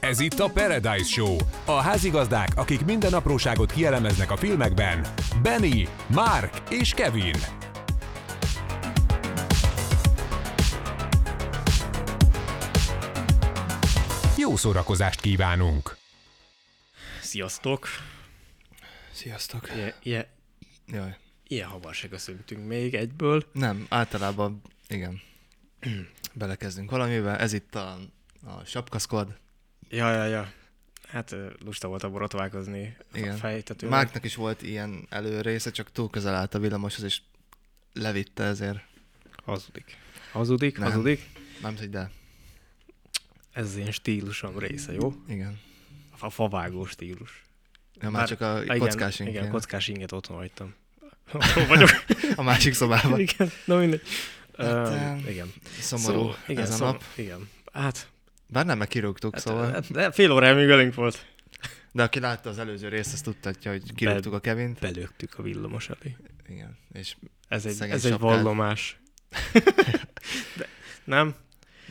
Ez itt a Paradise Show. A házigazdák, akik minden apróságot kielemeznek a filmekben. Benny, Mark és Kevin. Jó szórakozást kívánunk! Sziasztok! Sziasztok. Ilyen, ilyen, Jaj. ilyen habarságra szöktünk még egyből. Nem, általában igen. Belekezdünk valamivel. Ez itt a, a sapkaszkod. Ja, ja, ja. Hát ö, lusta volt a borotválkozni a Igen. fejtetővel. Márknak is volt ilyen előrésze, csak túl közel állt a villamoshoz, és levitte ezért. Hazudik. Hazudik, Nem. hazudik. Nem hogy de. Ez az én stílusom része, jó? Igen. A favágó stílus. Ja, már, csak a igen, kockás Igen, inkább. kockás inget otthon hagytam. Hol vagyok? A másik szobában. igen, na mindegy. Hát, Öm, em, igen. Szomorú Szóval, igen, ez a szom- nap. Igen. Hát, Bár nem, mert kirúgtuk, hát, szóval. hát, de fél órája még velünk volt. De aki látta az előző részt, azt tudhatja, hogy kirúgtuk a Kevint. Belőktük a villamos elé. Igen. És Ez egy, Szegény ez egy sapkát. vallomás. De, nem,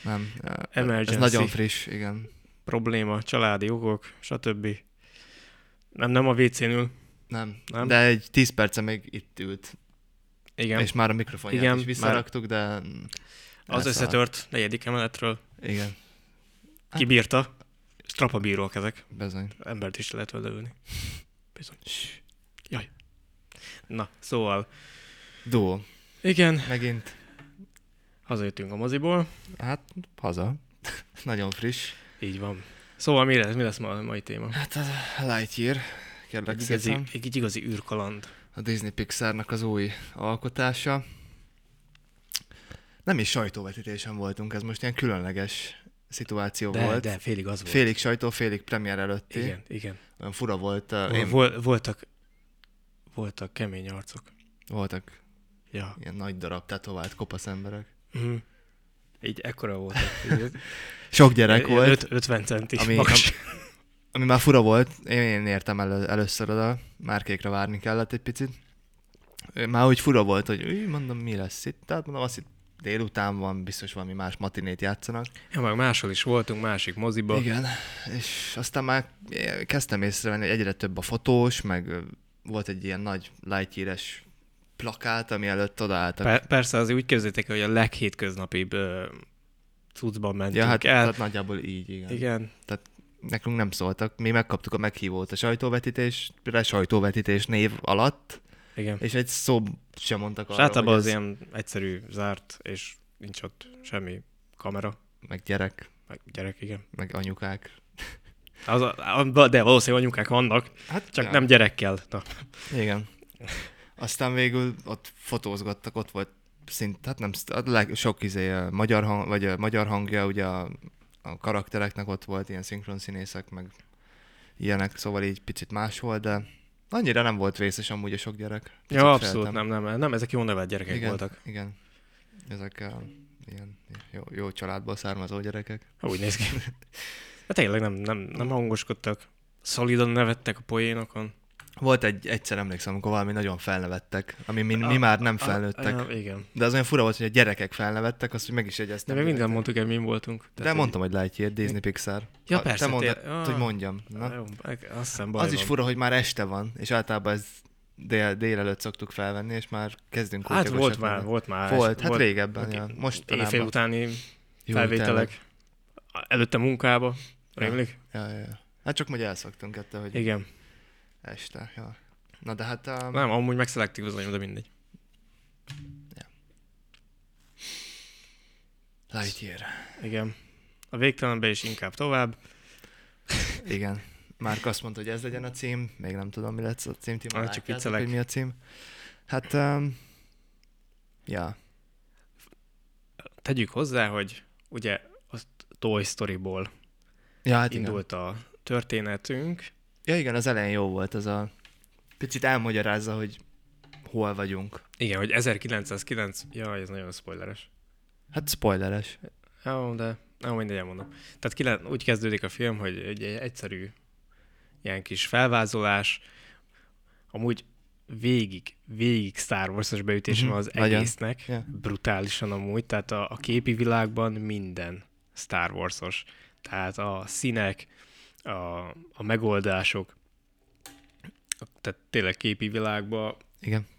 nem. Emergency. Ez nagyon friss, igen. probléma, családi okok, stb. Nem, nem a WC-n ül. Nem. Nem? nem. De egy 10 perce még itt ült Igen, És már a mikrofonját Igen, Igen, is visszaraktuk, de... az elszállt. összetört negyedik emeletről. Igen, Hát. Kibírta. Strapa bírók ezek. bizony. Embert is lehet vele ölni. Bizony. Ssss. Jaj. Na, szóval. Duó. Igen, Megint, hazajöttünk a moziból. hát, haza. Nagyon friss. Így van. Szóval mi lesz, mi lesz ma a mai téma? Hát az Lightyear, kérlek Egy igazi, szépen. egy igazi űrkaland. A Disney Pixarnak az új alkotása. Nem is sajtóvetítésen voltunk, ez most ilyen különleges szituáció De, volt. de félig az volt. Félig sajtó, félig premier előtti. Igen, igen. Olyan fura volt. Uh, Vol- én Vol, voltak, voltak kemény arcok. Voltak Ja. ilyen nagy darab tetovált kopasz emberek. Mhm. Így ekkora voltak. így- Sok gyerek ilyen volt. öt- 50 centis Ami- magas. Ami már fura volt, én, én értem elő, először oda, márkékra várni kellett egy picit. Ö, Már úgy fura volt, hogy úgy mondom, mi lesz itt. Tehát mondom, azt itt délután van, biztos valami más matinét játszanak. Ja, meg máshol is voltunk, másik moziba. Igen. Igen, és aztán már eh, kezdtem észrevenni, hogy egyre több a fotós, meg ö, volt egy ilyen nagy lightyear-es plakát, ami előtt odaálltak. Per- persze azért úgy képzeljétek, hogy a leghétköznapibb ö, cuccban mentünk ja, hát, el. hát nagyjából így, igen. igen. Igen, Nekünk nem szóltak, mi megkaptuk a meghívót a sajtóvetítésre, sajtóvetítés név alatt, igen. és egy szó sem mondtak És arra, általában hogy az ez- ilyen egyszerű, zárt, és nincs ott semmi kamera, meg gyerek, meg gyerek, igen. meg anyukák. Az a, a- de valószínűleg anyukák vannak, Hát csak nem gyerekkel. Na. Igen. Aztán végül ott fotózgattak, ott volt szint, hát nem, szt- a leg, sok izé, a magyar, hang, vagy a magyar hangja, ugye a, a karaktereknek ott volt ilyen szinkron színészek, meg ilyenek, szóval így picit más volt, de annyira nem volt vészes amúgy a sok gyerek. Picit Ja, abszolút féltem. nem, nem, nem, ezek jó nevelt gyerekek igen, voltak. Igen, ezek a, ilyen jó, jó családból származó gyerekek. Úgy néz ki. Hát tényleg nem, nem, nem hangoskodtak. Szolidan nevettek a poénokon. Volt egy, egyszer emlékszem, amikor valami nagyon felnevettek, ami mi, mi A- már nem a- felnőttek. a- Ah, igen. De az olyan fura volt, hogy a gyerekek felnevettek, azt, hogy meg is De jegyeztem. még minden direkt. mondtuk el, mi voltunk. De mondtam, hogy Lightyear, Disney Pixar. Ja, Ha, persze, Te mondtad, té- ah. hogy mondjam. Na. Na. Jó, meg- azt hiszem baj Az is van. fura, hogy már este van, és általában ez dél, délelőtt szoktuk felvenni, és már kezdünk Hát kutyagosak volt már, lenni. volt már. Volt, hát régebben, ja. Mostanában. Éjfél utáni Jó, felvételek. Előtte munkába. Rémlik? Ja, ja, ja. Hát csak hogy elszoktunk ettől, hogy Igen. este. Ja. Na de hát a... Nem, amúgy meg szelektív az anyom, de mindegy. Lightyear. Igen. A végtelenbe is inkább tovább. Igen. Márk azt mondta, hogy ez legyen a cím, még nem tudom, mi lesz a cím, ti már Ah, csak látjátok, viccelek. hogy mi a cím. Hát, um, ja, Tegyük hozzá, hogy ugye a Toy Storyból ja hát igen. indult a történetünk. Ja igen, az elején jó volt ez a... Picit elmagyarázza, hogy hol vagyunk. Igen, hogy 1909... Jaj, ez nagyon spoileres. Hát spoileres. Jó, de nem mindegy, elmondom. Tehát kilen, úgy kezdődik a film, hogy egy, egy egyszerű ilyen kis felvázolás, amúgy végig, végig Star Wars-os beütése Mhm, van az nagyon. egésznek, Ja. brutálisan amúgy, tehát a, a képi világban minden Star Wars-os. Tehát a színek, a, a megoldások, tehát tényleg képi világba. Igen.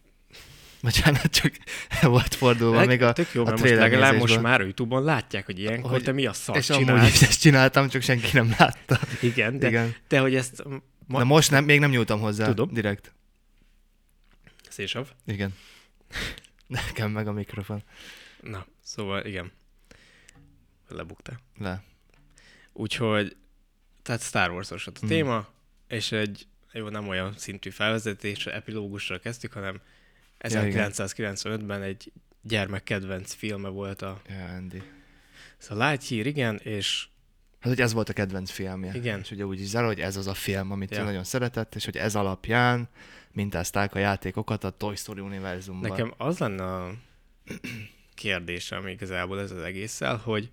Bocsánat, csak el volt fordulva Leg- Szóval még a, tök jó, a mert most trailer legalább most nézésből. már a Youtube-on látják, hogy ilyenkor hogy, Hogy- te mi a szart És csinálsz. amúgy is ezt csináltam, csak senki nem látta. Igen, de, Igen. de hogy ezt... Ma... Na most nem, még nem nyúltam hozzá. Tudom. Direkt. Szésav? Igen. Nekem meg a mikrofon. Na, szóval igen. Lebuktál. Le. Úgyhogy, tehát Star Wars-os a Mhm. téma, és egy, jó, nem olyan szintű felvezetés, epilógusra kezdtük, hanem Ja, igen. 1995-ben egy gyermek kedvenc filme volt a, Ja, Andy. ez a Lightyear, igen, és Hát, hogy ez volt a kedvenc filmje. Igen. És ugye úgy is záró, hogy ez az a film, amit Ja. ő nagyon szeretett, és hogy ez alapján mintázták a játékokat a Toy Story univerzumban. nekem az lenne a kérdésem igazából ez az egésszel, hogy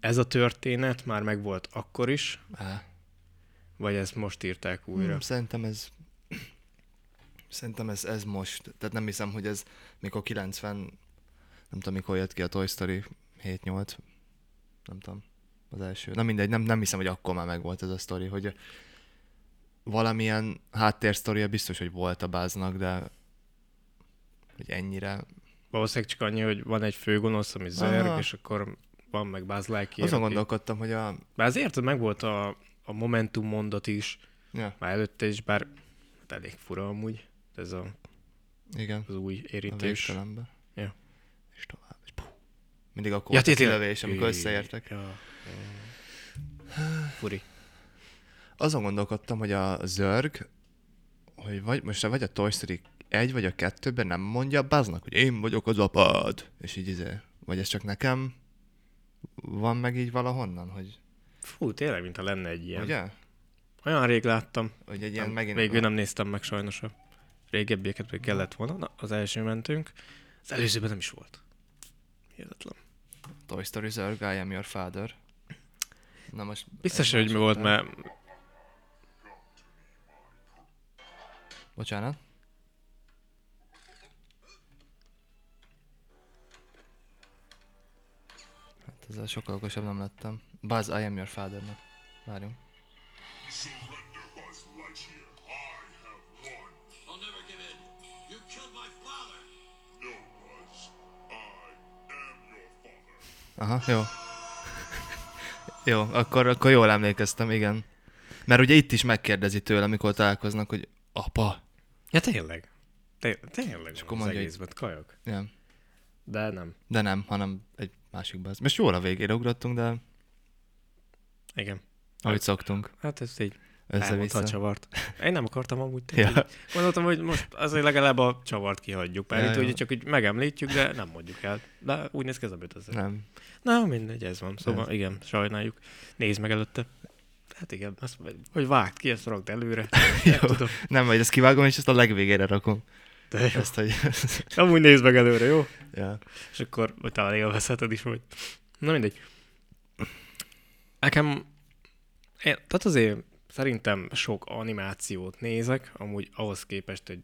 ez a történet már megvolt akkor is, Á, vagy ezt most írták újra? újra. Szerintem ez szerintem ez, ez most. Tehát nem hiszem, hogy ez mikor 90, nem tudom, mikor jött ki a Toy Story 7-8, nem tudom, az első. Na mindegy, nem, nem hiszem, hogy akkor már megvolt ez a sztori, hogy valamilyen háttérsztoria biztos, hogy volt a báznak, de hogy ennyire Valószínűleg csak annyi, hogy van egy főgonosz, ami zörg, Aha. és akkor van meg Buzz Lightyear. Azon aki- gondolkodtam, hogy a... Bár azért meg volt a, a Momentum mondat is, Ja, már előtte is, bár hát elég fura amúgy, ez a, igen. az új A érintés. végtelenbe. Ja. És tovább. És puh. Mindig akkor Ja, volt a tényleg. kilövés, amikor összeértek. Ja. Furi. Azon gondolkodtam, hogy a zörg, hogy vagy, most vagy a Toy Story 1 vagy a 2-ben nem mondja Buzznak, hogy én vagyok az apád, és így izé. Vagy ez csak nekem van meg így valahonnan, hogy Fú, tényleg, mintha lenne egy ilyen. Igen. ugye? Olyan rég láttam. Hogy egy ilyen nem, megint... Végül nem néztem meg sajnos a régebbieket, még kellett volna. Na, az első mentünk. Az előzőben nem is volt. Hihetetlen. Toy Story zörg, I am your father. Na most... Biztos, hogy mi volt, mert Bocsánat. Hát ezzel sokkal okosabb nem lettem. Buzz, I am your father -nak. Várjunk. Surrender, Buzz Lightyear. I have won. I'll never give in. You killed my father. No, Buzz. I am your Aha, father. jó. jó, akkor, akkor jól emlékeztem, igen. Mert ugye itt is megkérdezi tőle, amikor találkoznak, hogy apa. Ja, tényleg. Té- tényleg Csak akkor az mondja, hogy- egészben kajak. Nem. De nem. De nem, hanem egy másik Buzz. Most jól a végére ugrottunk, de Igen. ahogy szoktunk. Hát ezt így elmondta a Össze-vissza. csavart. Én nem akartam amúgy. Ja. Ja. Gondoltam, hogy most azért legalább a csavart kihagyjuk. Mert Ja, itt jó. ugye csak úgy megemlítjük, de nem mondjuk el. De úgy néz ki ez a bőt azért. Nem. Na, mindegy, ez van. Szóval igen, sajnáljuk. Nézd meg előtte. Hát igen, azt, hogy vágd ki, ezt rakd előre. Nem Jó. tudom. Nem, vagy ezt kivágom, és ezt a legvégére rakom. De jó. Ezt, hogy... Amúgy nézd meg előre, jó? ja. És akkor talán élvezheted is, hogy... Na mindegy. Nekem... Én, tehát azért szerintem sok animációt nézek, amúgy ahhoz képest, hogy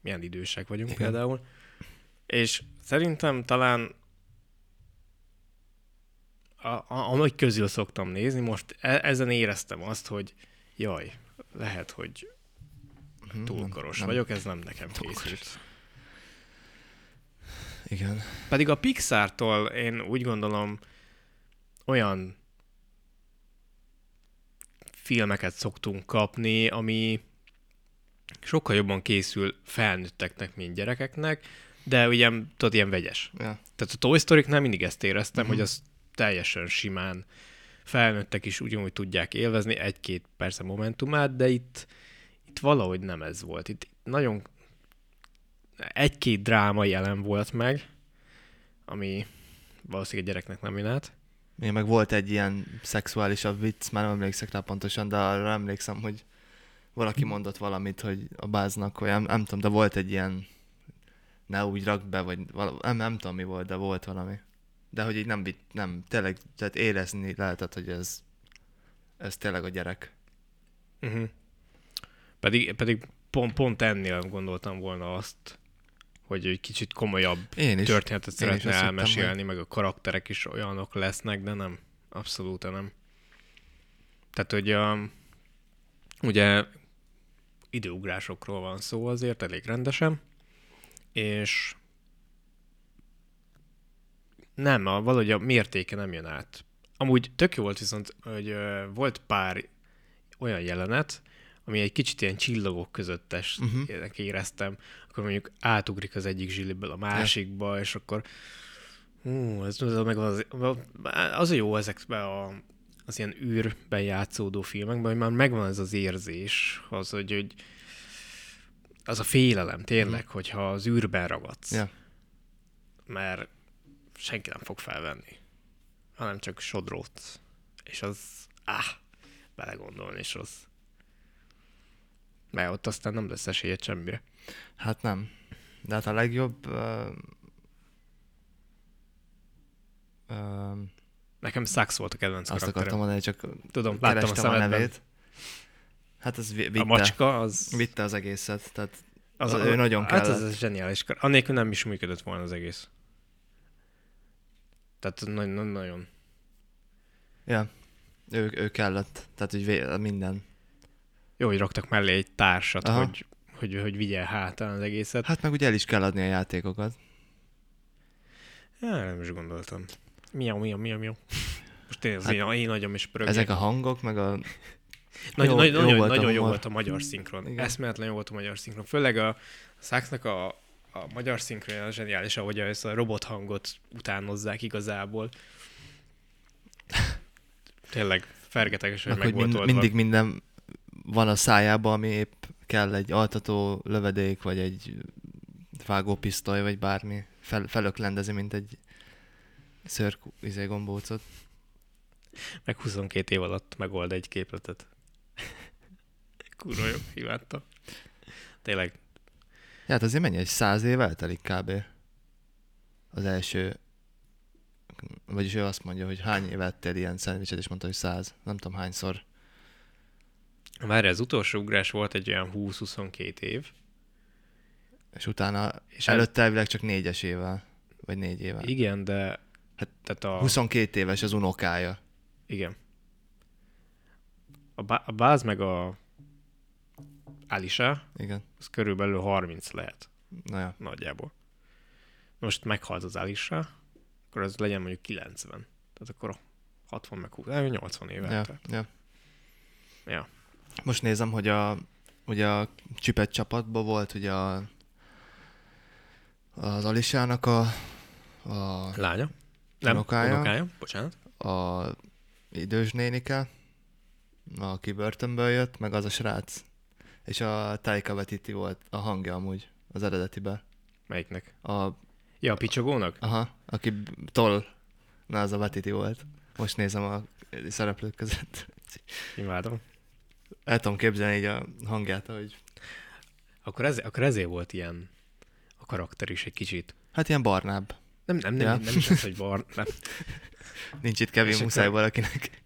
milyen idősek vagyunk Igen. például. És szerintem talán a, a, amúgy közül szoktam nézni, most e, ezen éreztem azt, hogy jaj, lehet, hogy túlkoros Mm, Mm-hmm. nem. vagyok, ez nem nekem készült. Igen. Pedig a Pixar-tól én úgy gondolom olyan filmeket szoktunk kapni, ami sokkal jobban készül felnőtteknek, mint gyerekeknek, de ugye, tudod, ilyen vegyes. Ja. Tehát a Toy story nem mindig ezt éreztem, hogy az teljesen simán felnőttek is ugyanúgy tudják élvezni egy-két persze momentumát, de itt, itt valahogy nem ez volt. Itt nagyon egy-két dráma jelen volt meg, ami valószínűleg egy gyereknek nem jön át. Még meg volt egy ilyen szexuálisabb vicc, már nem emlékszek rá pontosan, de arra emlékszem, hogy valaki mondott valamit, hogy a báznak olyan, nem tudom, de volt egy ilyen ne úgy rakd be, vagy vala, nem, nem tudom mi volt, de volt valami. De hogy így nem, vitt- nem tényleg, tehát érezni lehetett, hogy ez, ez tényleg a gyerek. Uh-huh. Pedig, pedig pont, pont ennél gondoltam volna azt, hogy egy kicsit komolyabb Én is. történetet Én is szeretne azt hittem, elmesélni, meg a karakterek is olyanok lesznek, de nem. Abszolút nem. Tehát, hogy a, ugye időugrásokról van szó azért elég rendesen, és nem, a, valahogy a mértéke nem jön át. Amúgy tök jó volt viszont, hogy ö, volt pár olyan jelenet, ami egy kicsit ilyen csillagok közöttes uh-huh. éreztem, akkor mondjuk átugrik az egyik zsiliből a másikba, és akkor hú, ez ez meg az, az a jó ezekben a, az ilyen űrben játszódó filmekben, hogy már megvan ez az érzés, az, hogy, hogy az a félelem tényleg, uh-huh. hogyha az űrben ragadsz Ja. mert senki nem fog felvenni, hanem csak sodrót. És az, áh, belegondolni is rossz. Mert ott aztán nem lesz esélyed semmire. Hát nem. De hát a legjobb... Uh, uh, Nekem Sax volt a kedvenc azt akartam karakterem. mondani, csak Tudom, láttam a kerestem a, szemedben. nevét. Hát ez vi- vitte. A macska az... Vitte az egészet, tehát az- ő nagyon Hát kellett. ez, ez zseniális. kar- Anélkül nem is működött volna az egész. Tehát nagyon, nagyon. ja, ő, ő kellett, tehát hogy vé- minden. Jó, hogy raktak mellé egy társat, Aha. hogy, hogy, hogy vigye hátán az egészet. Hát meg ugye el is kell adni a játékokat. Ja, nem is gondoltam. Miau, miau, miau, miau. Most tényleg az én, én agyam is pörög. Hát, Ezek a hangok, meg a... Nagy, jó- nagy, jó nagyon, volt a nagyon jó humor. volt a magyar szinkron. Igen. Igen. Eszméletlen jó volt a magyar szinkron. Főleg a Saxnak a, a magyar szinkronja zseniális, ahogy ezt a robot hangot utánozzák igazából. Tényleg fergeteges, hogy Meg, meg hogy volt mind, oldva. mindig minden van a szájában, ami épp kell egy altató lövedék, vagy egy vágópisztoly, vagy bármi. Fel, felöklendezi, mint egy szörk izé gombócot. Meg 22 év alatt megold egy képletet. Kurva jó, imádtam. Tényleg, Ja, hát azért mennyi, egy száz év eltelik kb. Az első, vagyis ő azt mondja, hogy hány év ettél ilyen szendvicset, és mondta, hogy száz, nem tudom hányszor. már az utolsó ugrás volt egy olyan 20-22 év. És utána, és És előtte elvileg csak négyes évvel, vagy négy évvel. Igen, de Hát hát, tehát a... 22 éves az unokája. Igen. A, bá- a báz meg a Alisa, Igen. az körülbelül 30 lehet Na ja. nagyjából. Most meghalt az Alisa, akkor az legyen mondjuk 90. Tehát akkor 60 meg 20, eh, 80 éve. ja, Tehát, ja. ja. Most nézem, hogy a, ugye a csipet csapatban volt ugye a, az Alisának a, a, Lánya? Nem, unokája. Unokája. unokája. Bocsánat. a idős nénike, aki börtönből jött, meg az a srác. És a Taika Waititi volt a hangja amúgy az eredetibe. Melyiknek? A, Ja, a picsogónak? aha, aki b- toll, na az a Waititi volt. Most nézem a szereplők között. Imádom. El tudom képzelni így a hangját, hogy Akkor, ez, akkor ezért volt ilyen a karakter is egy kicsit. hát ilyen barnább. Nem, nem, nem, Ja. nem, nem is az, hogy bar... Nem, Nincs itt Kevin És akkor- Muszáj valakinek.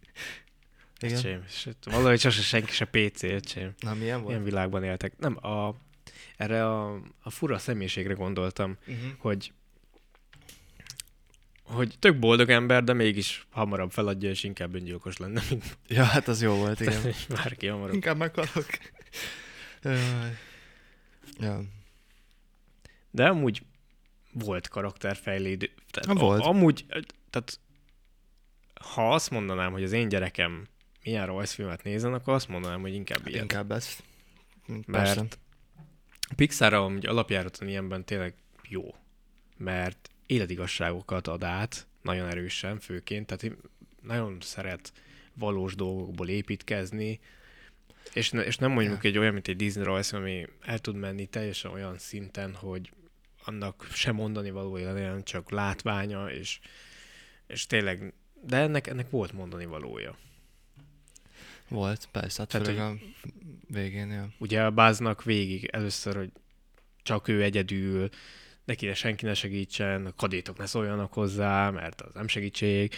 Igen. Öcsém, és valahogy sose senki se PC, öcsém. Na, milyen volt? Ilyen világban éltek. Nem, a, erre a, a fura személyiségre gondoltam, Uh-huh. hogy hogy tök boldog ember, de mégis hamarabb feladja, és inkább öngyilkos lenne, mint Ja, hát az jó volt, igen. hogy bárki hamarabb. Inkább meghalok. Jaj. ja. De amúgy volt karakterfejlődő. Tehát Na, volt. A, amúgy, tehát ha azt mondanám, hogy az én gyerekem milyen rajzfilmet nézen, akkor azt mondanám, hogy inkább Hát ilyet. inkább ez. Mint Mert- Persze. A Pixar amúgy alapjáraton ilyenben tényleg jó, mert életigazságokat ad át, nagyon erősen főként, tehát én nagyon szeret valós dolgokból építkezni, és, ne, és nem mondjuk egy olyan, mint egy Disney rajz, ami el tud menni teljesen olyan szinten, hogy annak sem mondani valója legyen, csak látványa, és, és tényleg, de ennek, ennek volt mondani valója. Volt, persze, hát Tehát, főleg a végén, ja. ugye a báznak végig először, hogy csak ő egyedül, neki ne senki ne segítsen, a kadétok ne szóljanak hozzá, mert az nem segítség.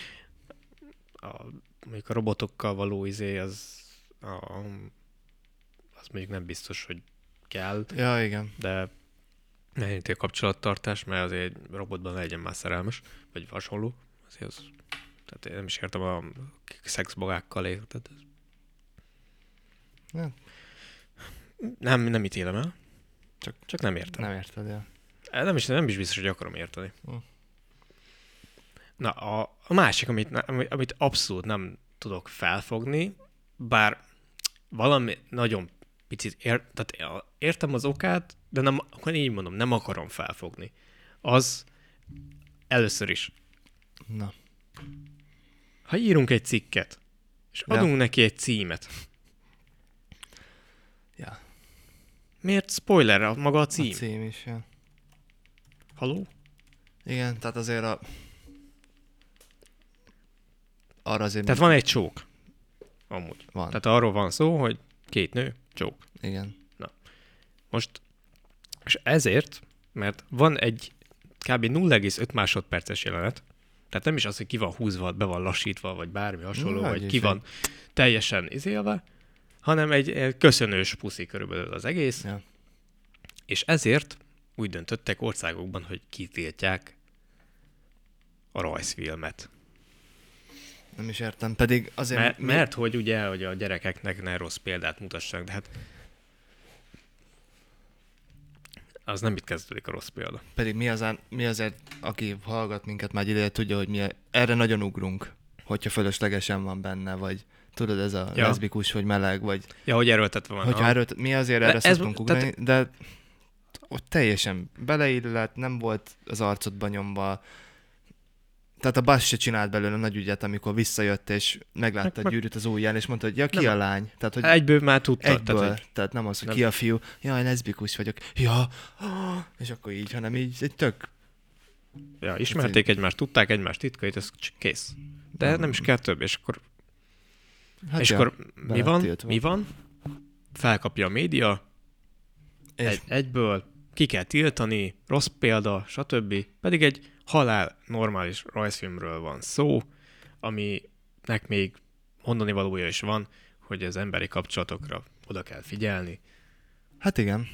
A, mondjuk a robotokkal való izé, az, a, az mondjuk nem biztos, hogy kell, Ja, igen. de ne érinti a kapcsolattartás, mert azért egy robotban ne legyen már szerelmes, vagy hasonló. Azért az, tehát én nem is értem a szexbogákkal, érted? Ez Nem. Nem, nem ítélem el. Csak- Csak nem értem. Nem érted, ja. Eh, Nem. nem is, nem is biztos, hogy akarom érteni. Hm. Na, a, a másik, amit, ne- ami- amit abszolút nem tudok felfogni, bár valami nagyon picit ér, tehát a- értem az okát, de nem, akkor így mondom, nem akarom felfogni. Az először is, Na. ha írunk egy cikket, és Ja. adunk neki egy címet, Ja. miért spoiler a maga a cím? A cím is, ja. Haló? Igen, tehát azért a... Arra azért... Tehát van egy csók. Amúgy. van. Tehát arról van szó, hogy két nő, csók. Igen. Most, és ezért, mert van egy kb. 0,5 másodperces jelenet, tehát nem is az, hogy ki van húzva, be van lassítva, vagy bármi hasonló, Na, vagy hogy ki is van teljesen izélve, hanem egy, egy köszönős puszi körülbelül az egész, Ja. és ezért úgy döntöttek országokban, hogy kitiltják a rajzfilmet. Nem is értem. Pedig azért... Mert, mi- mert hogy ugye, hogy a gyerekeknek ne rossz példát mutassanak, de hát az nem itt kezdődik a rossz példa. Pedig mi, az, mi azért, aki hallgat minket már egy ideje, tudja, hogy mi erre nagyon ugrunk, hogyha fölöslegesen van benne, vagy tudod, ez a Ja. ja. leszbikus, vagy meleg, vagy Ja, hogy erőltetve van. hogyha aha. erőt, mi azért erre ez- szoktunk tehát- ugrani, de ott teljesen beleillett, nem volt az arcodba nyomva, tehát a Bass se csinált belőle nagy ügyet, amikor visszajött, és meglátta a gyűrűt az ujján, és mondta, hogy ja, ki Nem. a lány? Tehát, hogy Hát Egyből már tudtad. egyből, Tehát, tehát, hogy nem az, hogy nem. ki a fiú, jaj, leszbikus vagyok, ja, és akkor így, hanem így egy tök ja, ismerték egymást, tudták egymást titkait, ez csak kész. De nem, is kell több, és akkor, Hát és ja, akkor be mi lett van? tiltva. Mi van? Felkapja a média, És- egy, egyből ki kell tiltani, rossz példa, stb. Pedig egy halál normális rajzfilmről van szó, aminek még mondani valója is van, hogy az emberi kapcsolatokra oda kell figyelni, Hát igen.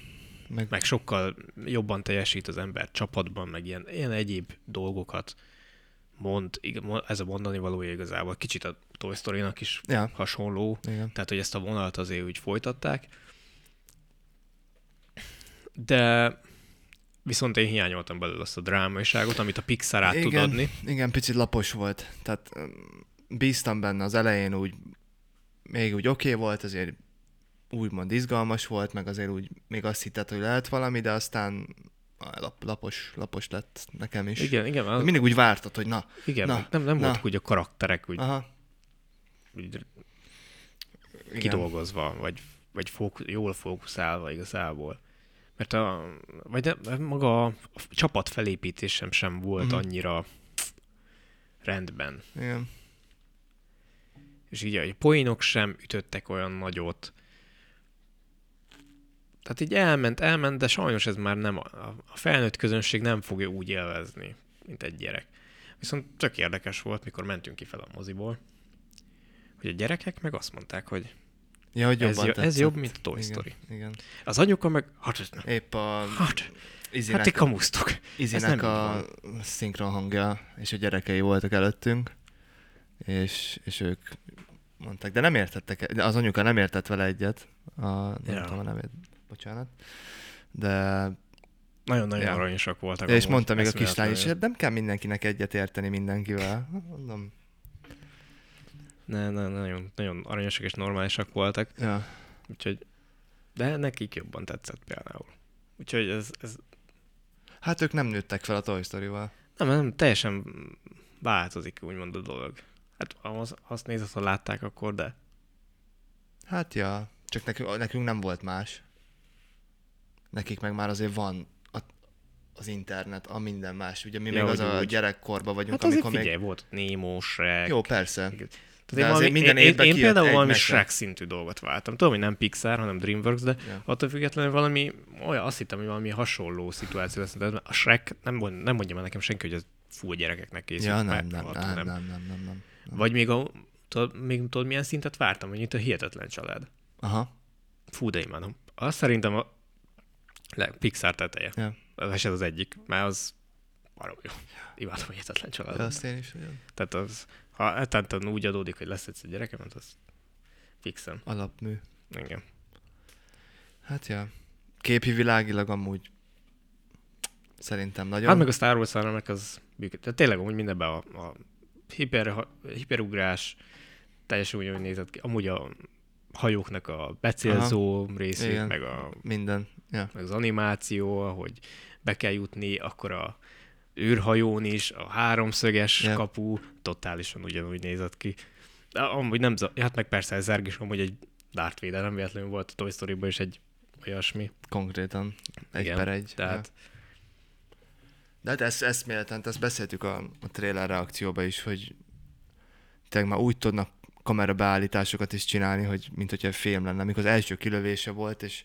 Meg, meg sokkal jobban teljesít az ember csapatban, meg ilyen, ilyen egyéb dolgokat mond, ig- mo- ez a mondani valója igazából kicsit a Toy Story-nak is Ja. hasonló, igen. tehát, hogy ezt a vonalat azért úgy folytatták. De viszont én hiányoltam belőle azt a drámaiságot, amit a Pixar át tud igen, adni. igen, picit lapos volt. Tehát öm, bíztam benne az elején úgy, még úgy oké okay volt, azért úgymond izgalmas volt, meg azért úgy még azt hitted, hogy lehet valami, de aztán a lap, lapos, lapos lett nekem is. Igen, igen, De az, Mindig úgy vártad, hogy na, igen na, na, nem, nem na. voltak úgy a karakterek úgy, aha, úgy igen. kidolgozva, vagy, vagy fók, jól fókuszálva igazából. Mert a, vagy nem, maga a csapat felépítésem sem volt Mhm. annyira rendben. Igen. és így a poénok sem ütöttek olyan nagyot. Tehát így elment, elment, de sajnos ez már nem, a, a felnőtt közönség nem fogja úgy élvezni, mint egy gyerek. Viszont tök érdekes volt, mikor mentünk ki fel a moziból, hogy a gyerekek meg azt mondták, hogy Ja, hogy ez, jobban jo- ez tetszett. jobb, mint a Toy igen, Story. Igen. Az anyuka meg, hát, ez nem- Épp a hát, hát ti Izinek, kamusztok. Izinek nem a szinkron hangja és a gyerekei voltak előttünk, és, és ők mondták, de nem értettek, e- de az anyuka nem értett vele egyet, a, nem Ja. ja. tudom, nem ért, bocsánat, de, Nagyon-nagyon Ja. aranyosak voltak. és amúgy, mondta még a kislány eszméletlenül. is, "Hát nem kell mindenkinek egyet érteni mindenkivel. Mondom, Ne, ne, nagyon, nagyon aranyosak és normálisak voltak. ja, Úgyhogy, de nekik jobban tetszett például. Úgyhogy ez, ez hát ők nem nőttek fel a Toy Story-val. nem, nem, teljesen változik úgymond a dolog. Hát az, azt nézed, ha látták akkor, de Hát ja, csak nekünk, nekünk nem volt más. Nekik meg már azért van a, az internet, a minden más. Ugye mi Ja, még hogy az a úgy. gyerekkorban vagyunk, hát hát azért amikor figyelj, még... még... volt Némó, Shrek. Jó, persze. Igen. de Tehát én, valami, azért minden minden én, én, évben én kijött például egy valami mese. Shrek szintű dolgot váltam. Tudom, hogy nem Pixar, hanem DreamWorks, de Ja. attól függetlenül valami olyan, azt hittem, hogy valami hasonló szituáció lesz. De a Shrek, nem, mond- nem mondja már nekem senki, hogy ez full gyerekeknek készült. Ja, nem, mert nem, rohadtul nem, nem, nem, nem, nem, nem. Vagy még, a, tudod, még tudod, milyen szintet vártam, hogy itt a hihetetlen család. Aha, Fú, de imádom. Azt szerintem a le, Pixar teteje. Ja. Ez az egyik, mert az barom jó. Imádom a hihetetlen család. de azt én is olyan Tehát az, ha etenten úgy adódik, hogy lesz egyszer gyerekem, hát az fixem. alapmű. Igen. Hát ja, képi világilag amúgy szerintem nagyon. Hát meg a Star Wars meg az működik. Tehát tényleg amúgy mindenben a, a hiper, ha- hiperugrás teljesen ugyanúgy nézett ki. Amúgy a hajóknak a becélzó részét, Igen. meg, a, Minden. Ja. meg az animáció, ahogy be kell jutni, akkor a űrhajón is, a háromszöges Ja. yeah. kapu totálisan ugyanúgy nézett ki. De amúgy nem, za- hát meg persze ez is amúgy egy Darth Vader, nem véletlenül volt a Toy Story-ban is egy olyasmi. Konkrétan. Egy Igen, per egy. Tehát Ja. De hát ezt, ezt méltán, ezt beszéltük a, a trailer reakcióba is, hogy tényleg már úgy tudnak kamerabeállításokat is csinálni, hogy mint hogyha film lenne, amikor az első kilövése volt, és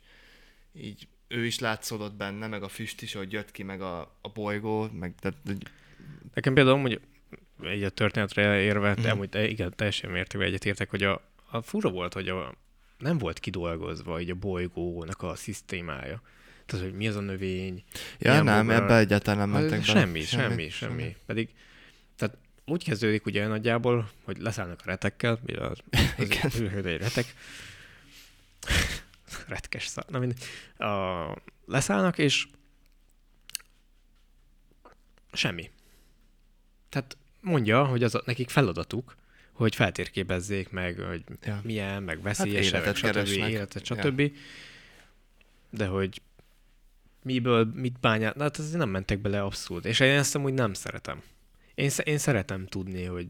így ő is látszódott benne, meg a füst is, ahogy jött ki, meg a, a bolygó, meg tehát, hogy Nekem például amúgy egy a történetre érve, Mm. de amúgy te- igen, teljesen mértékben egyetértek, hogy a, a fura volt, hogy a, nem volt kidolgozva így a bolygónak a szisztémája. Tehát, hogy mi az a növény. ja, milyen nem, bogarak. ebbe egyáltalán nem Hát, mentek bele. semmi, semmi, semmi, semmi. Pedig, tehát úgy kezdődik ugye nagyjából, hogy leszállnak a retekkel, ugye az, az Igen. űrhőd egy retek, retkes szar, na mindegy. A, leszállnak, és semmi. Tehát mondja, hogy az a, nekik feladatuk, hogy feltérképezzék meg, hogy Ja. milyen, meg veszélyes, életet hát stb. keresnek. Életet, Ja. stb. De hogy miből, mit bányát, hát azért nem mentek bele abszolút. És én ezt amúgy nem szeretem. Én, sze- én szeretem tudni, hogy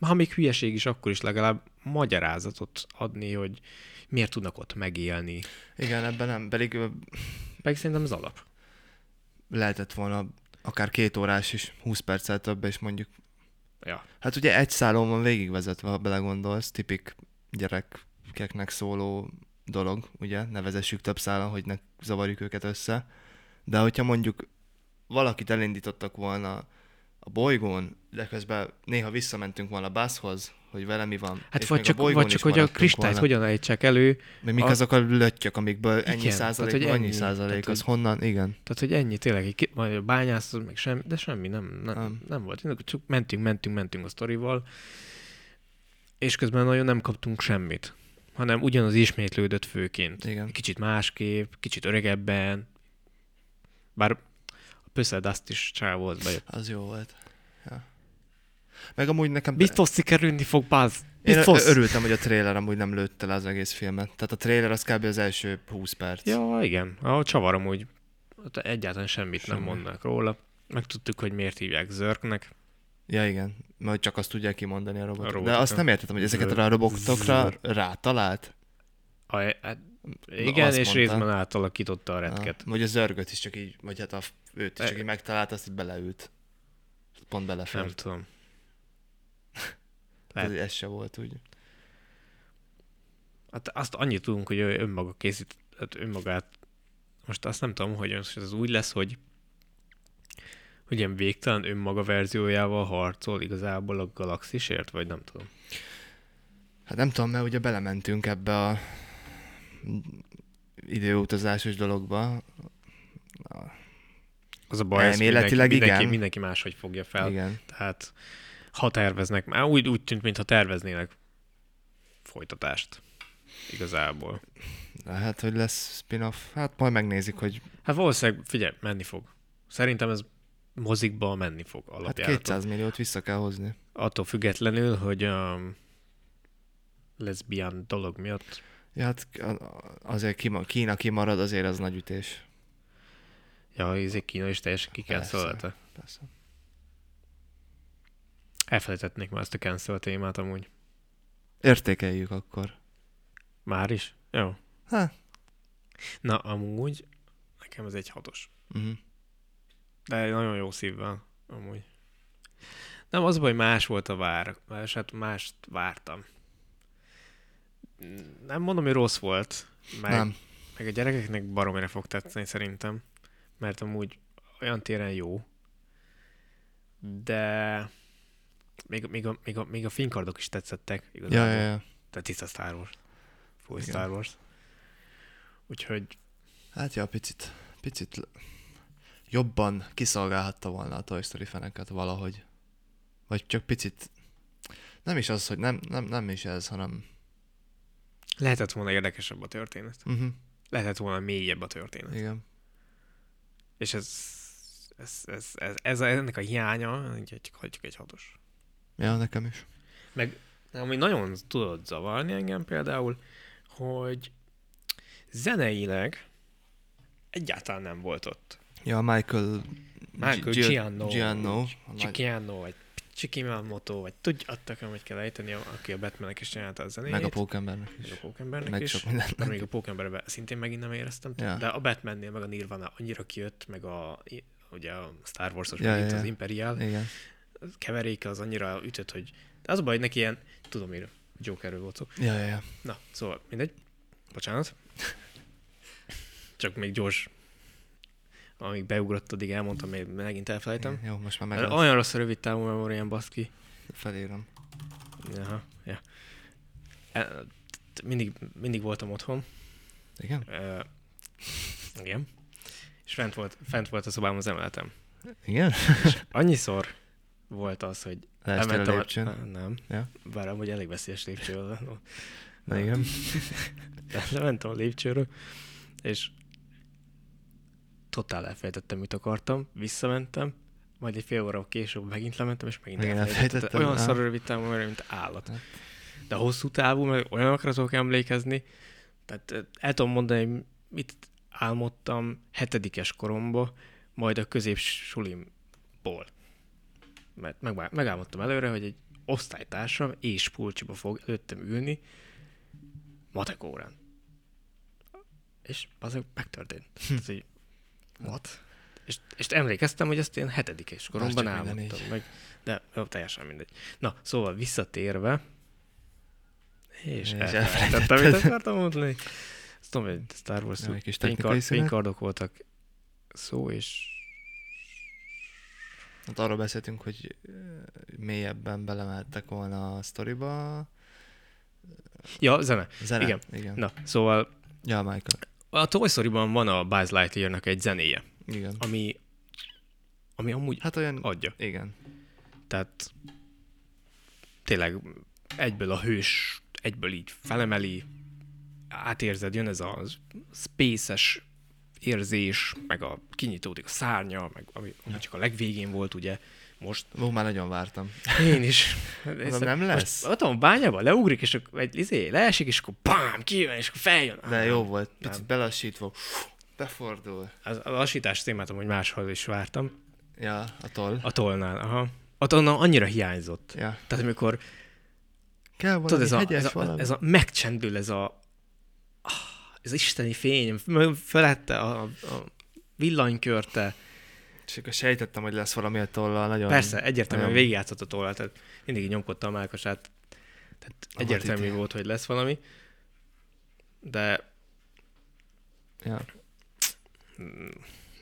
ha még hülyeség is, akkor is legalább magyarázatot adni, hogy miért tudnak ott megélni. Igen, ebben nem, pedig ö, Pedig szerintem az alap. lehetett volna akár két órás is, 20 perccel több, és mondjuk Ja. Hát ugye egy szálon van végigvezetve, ha belegondolsz, tipik gyerekeknek szóló dolog, ugye, nevezessük több szálon, hogy ne zavarjuk őket össze. De hogyha mondjuk valakit elindítottak volna a bolygón, de közben néha visszamentünk volna a bászhoz, hogy vele mi van. Hát és vagy még a csak, bolygón vagy csak is hogy a maradtunk kristályt volna. hogyan ejtsek elő, Még mik a- azok a löttyök, amikből ennyi Igen, igen, tehát, százalék, hogy tehát, annyi ennyi, százalék, tehát, az hogy- honnan, igen. Tehát, hogy ennyi tényleg, egy ki- majd a bányász, meg semmi, de semmi nem, nem, nem. Nem. nem volt. Tényleg Csak mentünk, mentünk, mentünk a sztorival, és közben nagyon nem kaptunk semmit, hanem ugyanaz ismétlődött főként. Igen. Kicsit másképp, kicsit öregebben, bár a Pöszed azt is csávó az bejött. Az jó volt. Ja. Meg amúgy nekem... Biztos sikerülni fog, Báz. Én Biztos. ö- örültem, hogy a trailer amúgy nem lőtte le az egész filmet. Tehát a trailer az kb. az első 20 perc. Ja, igen. A csavar amúgy ott egyáltalán semmit Semmi. nem Semmi. mondnak róla. Megtudtuk, hogy miért hívják zörknek. ja igen, mert csak azt tudják kimondani a robotok. A A robotok, De azt ja. nem értettem, hogy ezeket Zör- a robotokra zör. rátalált. A, hát, igen, azt és mondta. részben átalakította a retket. Ah, Vagy a zörgöt is csak így, vagy hát a, f- őt is E- csak így megtalált, azt így beleült. Pont Nem belefért. tudom. Tehát lehet. ez se volt úgy. Hát azt annyit tudunk, hogy ő önmaga készít, hát önmagát, most azt nem tudom, hogy most ez úgy lesz, hogy hogy ilyen végtelen önmaga verziójával harcol igazából a galaxisért, vagy nem tudom. Hát nem tudom, mert ugye belementünk ebbe a időutazásos dologba. Az a baj, ez Elméletileg mindenki, mindenki, igen. mindenki máshogy fogja fel. Igen. Igen. Tehát ha terveznek, már úgy, úgy tűnt, mintha terveznének folytatást igazából. Lehet, hogy lesz spin-off. Hát majd megnézik, hogy Hát valószínűleg, figyelj, menni fog. Szerintem ez mozikba menni fog hát alapjáraton. 200 milliót vissza kell hozni. attól függetlenül, hogy a leszbián dolog miatt. Ja, hát a- azért kima, Kína kimarad, azért az nagy ütés. Ja, ez egy Kína is teljesen kikenszolta. Persze. Elfelejtetnék már ezt a cancel témát amúgy. Értékeljük akkor. Már is? Jó. Há. Na, amúgy nekem ez egy hatos. Uh-huh. De nagyon jó szívvel, amúgy. Nem, az a baj, más volt a vár, és hát mást vártam. Nem mondom, hogy rossz volt, meg, Nem. meg a gyerekeknek baromira fog tetszeni szerintem, mert amúgy olyan téren jó, de még, még, a, még, a, még a fénykardok is tetszettek Ja, igazából. ja, ja. Tehát tiszta Star Wars. Full Igen. Star Wars. Úgyhogy Hát ja, picit, picit l- jobban kiszolgálhatta volna a Toy Story feneket valahogy. Vagy csak picit, nem is az, hogy nem, nem, nem is ez, hanem Lehetett volna érdekesebb a történet. Uh-huh. Lehetett volna mélyebb a történet. Igen. És ez, ez, ez, ez, ez ennek a hiánya, így egy- hagyjuk egy hatos. Ja, nekem is. Meg ami nagyon tudod zavarni engem például, hogy zeneileg egyáltalán nem volt ott. Ja, Michael... Michael Gi- Gianno. Gianno. Csikiano, vagy Csikimamoto, vagy tudja, adtak, amit kell ejteni, aki a Batmannek is csinálta a zenét. Meg a pókembernek Meg is. a Pókembernek Meg is. sok mindennek. De még a Pókemberben szintén megint nem éreztem. Ja. Ja. De a Batmannél meg a Nirvana annyira kijött, meg a ugye a Star Wars-os Ja, ja, ja, ja. az ja. Imperial Igen. keveréke az annyira ütött, hogy de az a baj, hogy neki ilyen, tudom miről, Jokerről volt szó. Ja, ja, ja. Na, szóval mindegy. Bocsánat. Csak még gyors. Amíg beugrott, addig elmondtam, még megint elfelejtem. Igen. Jó, most már meg Mert lesz. olyan rossz a rövid távú memóriám, baszki. Felírom. Aha, ja. E, t- Mindig, mindig voltam otthon. Igen? E, igen. És fent volt, fent volt a szobám az emeletem. Igen? Annyiszor volt az, hogy Leestél a lépcsőn? A, nem. Ja. Bár amúgy elég veszélyes lépcső az. Na igen. De lementem a lépcsőről, és totál elfelejtettem, mit akartam, visszamentem, majd egy fél óra később megint lementem, és megint Megint elfelejtettem. elfelejtettem, Olyan á. szar rövid távú memoria, mint állat. Hát. De hosszú távú, meg olyanokra tudok emlékezni, tehát eh, el tudom mondani, hogy mit álmodtam hetedikes koromba, majd a középsulimból. Mert meg, megálmodtam előre, hogy egy osztálytársam és pulcsiba fog előttem ülni matek órán. És az megtörtént. Hm. Tehát, hogy what? És, és emlékeztem, hogy ezt én hetedikes koromban csak minden álmodtam. Meg, de jó, teljesen mindegy. Na, szóval visszatérve, és, És és elfelejtettem, amit akartam mondani. Azt tudom, hogy Star Wars Jó, egy kis fénykard- technikai szünet. fénykardok voltak szó, és Hát arról beszéltünk, hogy ö, mélyebben belemehettek volna a sztoriba. Ja, zene. Zene. Igen. Igen. Na, szóval Ja, Michael. a Toy Story-ban van a Buzz Lightyear-nak egy zenéje, Igen. ami, ami amúgy Hát olyan... adja. Igen. Tehát tényleg egyből a hős, egyből így felemeli, átérzed, jön ez a spaces érzés, meg a kinyitódik a szárnya, meg ami, ami csak a legvégén volt, ugye, most Ó, már nagyon vártam. Én is. Hát Mondom, nem lesz. Most, ott van bányába, leugrik, és akkor egy izé, leesik, és akkor bám, kijön, és akkor feljön. De jó volt. Picit belassítva. Befordul. Az, a lassítás témát amúgy máshol is vártam. Ja, a toll. A tollnál, aha. A tollnál annyira hiányzott. Ja. Tehát amikor, Kell valami tudod, ez a, hegyes ez, a, valami. ez a megcsendül, ez a ah, ez isteni fény, m- felette a, a villanykörte. És akkor sejtettem, hogy lesz valami a tollal. Nagyon... Persze, egyértelműen nagyon- végigjátszott a tollát, tehát mindig így nyomkodta a mákosát. Tehát volt egyértelmű idő. volt, hogy lesz valami. De Ja.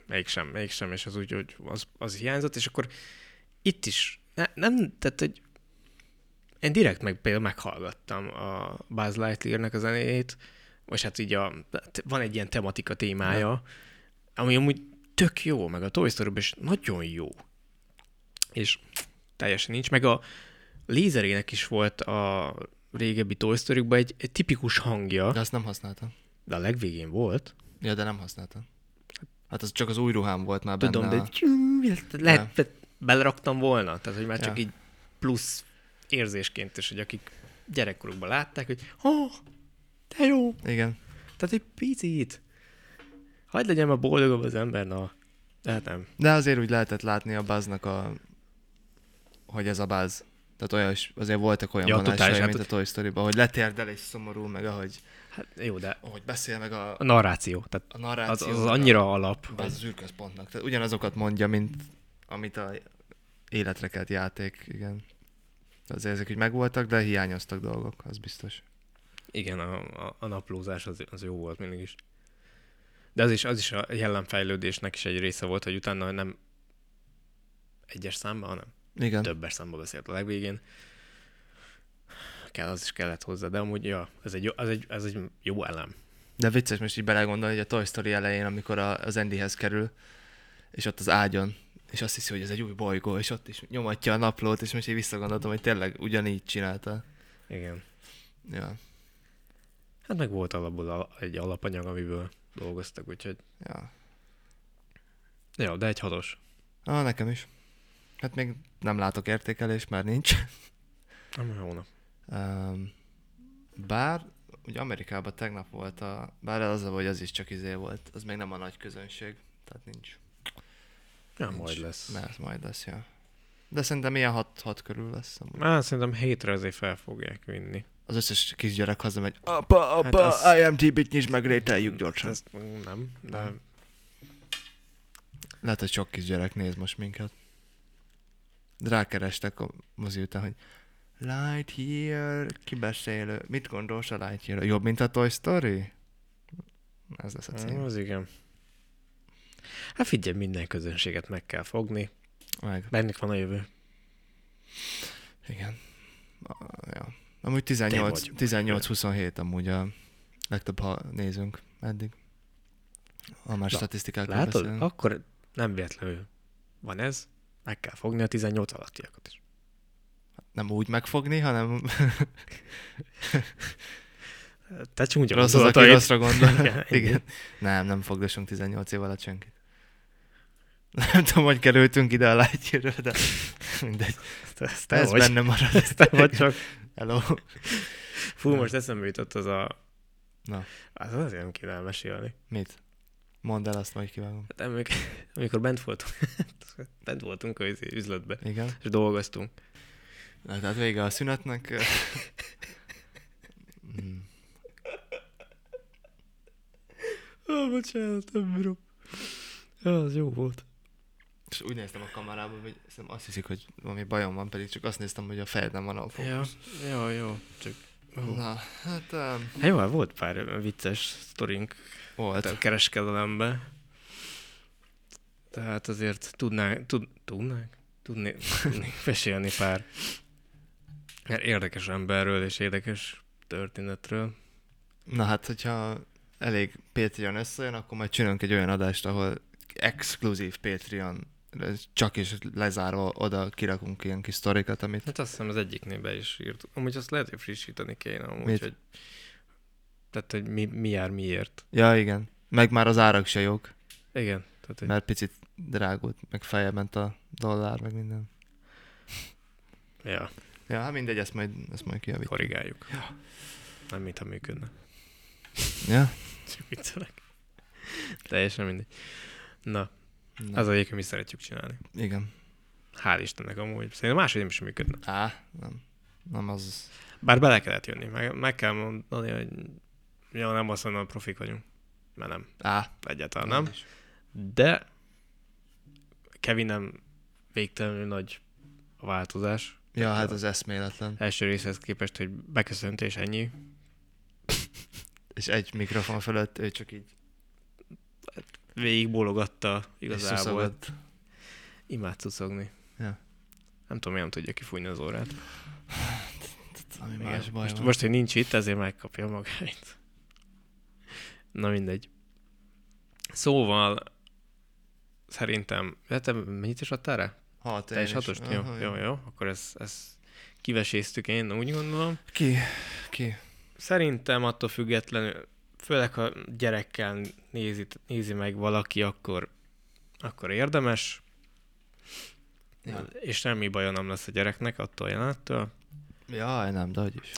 mégsem, mégsem, és az úgy, hogy az, az hiányzott, és akkor itt is, ne, nem, tehát, hogy én direkt meg például meghallgattam a Buzz Lightyear-nek a zenéjét, vagy hát így a, hát van egy ilyen tematika témája, ami amúgy tök jó, meg a Toy story is nagyon jó. És teljesen nincs, meg a lézerének is volt a régebbi Toy story egy, egy tipikus hangja, De azt nem használtam. de a legvégén volt, Ja, de nem használtam. Hát az csak az új ruhám volt már Tudom, benne. de a- tyú, tehát lehet, tehát beleraktam volna, tehát hogy már csak Ja. így plusz érzésként is, hogy akik gyerekkorukban látták, hogy oh, de jó, Igen. tehát egy picit. Hagyd legyen már boldogabb az ember, na. De hát nem. De azért úgy lehetett látni a báznak a... hogy ez a báz. Tehát olyan, is- azért voltak olyan Ja, ja, totális, vonásai, hát- mint a Toy Story-ban, hogy letérdel és szomorú, meg ahogy, Hát jó, de ahogy beszél, meg a, a narráció, tehát a az, narráció. az annyira alap. A, az űrközpontnak. Tehát ugyanazokat mondja, mint amit a életre kelt játék, igen. Azért ezek úgy megvoltak, de hiányoztak dolgok, az biztos. Igen, a, a, a naplózás az, az jó volt mindig is. De az is, az is a jellemfejlődésnek is egy része volt, hogy utána nem egyes számban, hanem Igen. többes számba beszélt a legvégén. Kell, az is kellett hozzá, de amúgy, ja, ez egy jó, az egy, ez egy jó elem. De vicces most így belegondolni, hogy a Toy Story elején, amikor a, az Andyhez kerül, és ott az ágyon, és azt hiszi, hogy ez egy új bolygó, és ott is nyomatja a naplót, és most így visszagondoltam, hogy tényleg ugyanígy csinálta. Igen. Ja. Hát meg volt alapból a- egy alapanyag, amiből dolgoztak, úgyhogy Ja. jó, de egy hatos. Ah, nekem is. Hát még nem látok értékelést, mert nincs. Nem jó nap. Um, bár, ugye Amerikában tegnap volt a... Bár az a, hogy az is csak izé volt. Az még nem a nagy közönség. Tehát nincs. Ja, nincs. majd lesz. Mert majd lesz, ja. De szerintem ilyen 6-6 körül lesz. amúgy. Á, szerintem hétre azért fel fogják vinni. Az összes kisgyerek hazamegy. Apa, apa, Hát az- IMDb-t nyisd meg, rételjük gyorsan. Ezt nem, de mm, Lehet, hogy sok kisgyerek néz most minket. De Rákerestek a mozi után, hogy Lightyear, kibeszélő. Mit gondolsz a Lightyear? Jobb, mint a Toy Story? Ez lesz a cím. az igen. Hát figyelj, minden közönséget meg kell fogni. Meg. Bennük van a jövő. Igen. A- Ja. Amúgy Te 18, vagy. 18-27 amúgy a legtöbb, ha nézünk eddig. Ha már Na, statisztikákról Látod? beszélünk. Akkor nem véletlenül van ez. Meg kell fogni a 18 alattiakat is. Nem úgy megfogni, hanem Te csúnya rossz az, aki gondolataid. rosszra gondol. Igen, Igen. Nem, nem fogdosunk 18 év alatt senkit. Nem tudom, hogy kerültünk ide a lágyhírről, de mindegy. Ez Te te Ez vagy. benne marad. Ez Te vagy csak. Hello. Fú, most eszembe jutott az a... Hát Na. Az azért nem kéne elmesélni. Mit? Mondd el azt, majd kivágom. Hát emlék, amikor bent voltunk, bent voltunk a izé üzletbe, Igen. és dolgoztunk. Na, tehát vége a szünetnek. Mm. Ó, oh, bocsánat, nem bírom. Ja, az jó volt. És úgy néztem a kamerába, hogy szerintem azt hiszik, hogy valami bajom van, pedig csak azt néztem, hogy a fejed nem van a fog. Ja, jó, jó. Csak... Na, hát um, Hát jó, hát volt pár olyan vicces sztorink a volt. kereskedelembe. Tehát azért tudnánk, tud, tudnánk, tudni, tudnék mesélni pár mert érdekes emberről és érdekes történetről. Na hát, hogyha elég Patreon összejön, akkor majd csinálunk egy olyan adást, ahol exkluzív Patreon csak is lezárva oda kirakunk ilyen kis sztorikat, amit Hát azt hiszem az egyiknél be is írt. Amúgy azt lehet, hogy frissíteni kéne. Amúgy, Mit? Hogy, tehát, hogy mi, mi jár miért. Ja, igen. Meg már az árak se jók, Igen. Tehát, hogy mert picit drágult, meg feljebb ment a dollár, meg minden. ja, Ja, hát mindegy, ezt majd, ezt majd kijavítjuk. korrigáljuk. Nem, mintha működne. Ja? Csak viccelek. Teljesen mindegy. Na, Na, az egyik, mi szeretjük csinálni. Igen. Hál' Istennek amúgy. Szerintem máshogy nem is működne. Á, nem. Nem az... Bár bele kellett jönni. Meg, meg kell mondani, hogy ja, nem azt mondom, profik vagyunk. Mert nem. Á, Egyáltalán nem. is. De Kevin nem végtelenül nagy a változás. Ja, hát az eszméletlen. Első részhez képest, hogy beköszönt és ennyi. És egy mikrofon fölött ő csak így Végig bólogatta és igazából. szuszogott. Imád szuszogni. Ja. Nem tudom, miért nem tudja kifújni az órát. Ami Igen. más baj most, van. most, hogy nincs itt, ezért megkapja magáit. Na mindegy. Szóval szerintem, hát te mennyit is adtál rá? Hat, Te én is hatost? Jó, Aha, jó, jó. Akkor ezt, ezt kiveséztük én, úgy gondolom. Ki? Ki? Szerintem attól függetlenül, főleg ha gyerekkel nézi, nézi meg valaki, akkor, akkor érdemes. Ja. És semmi baja nem lesz a gyereknek attól a jelenettől. Jaj, nem, de hogy is.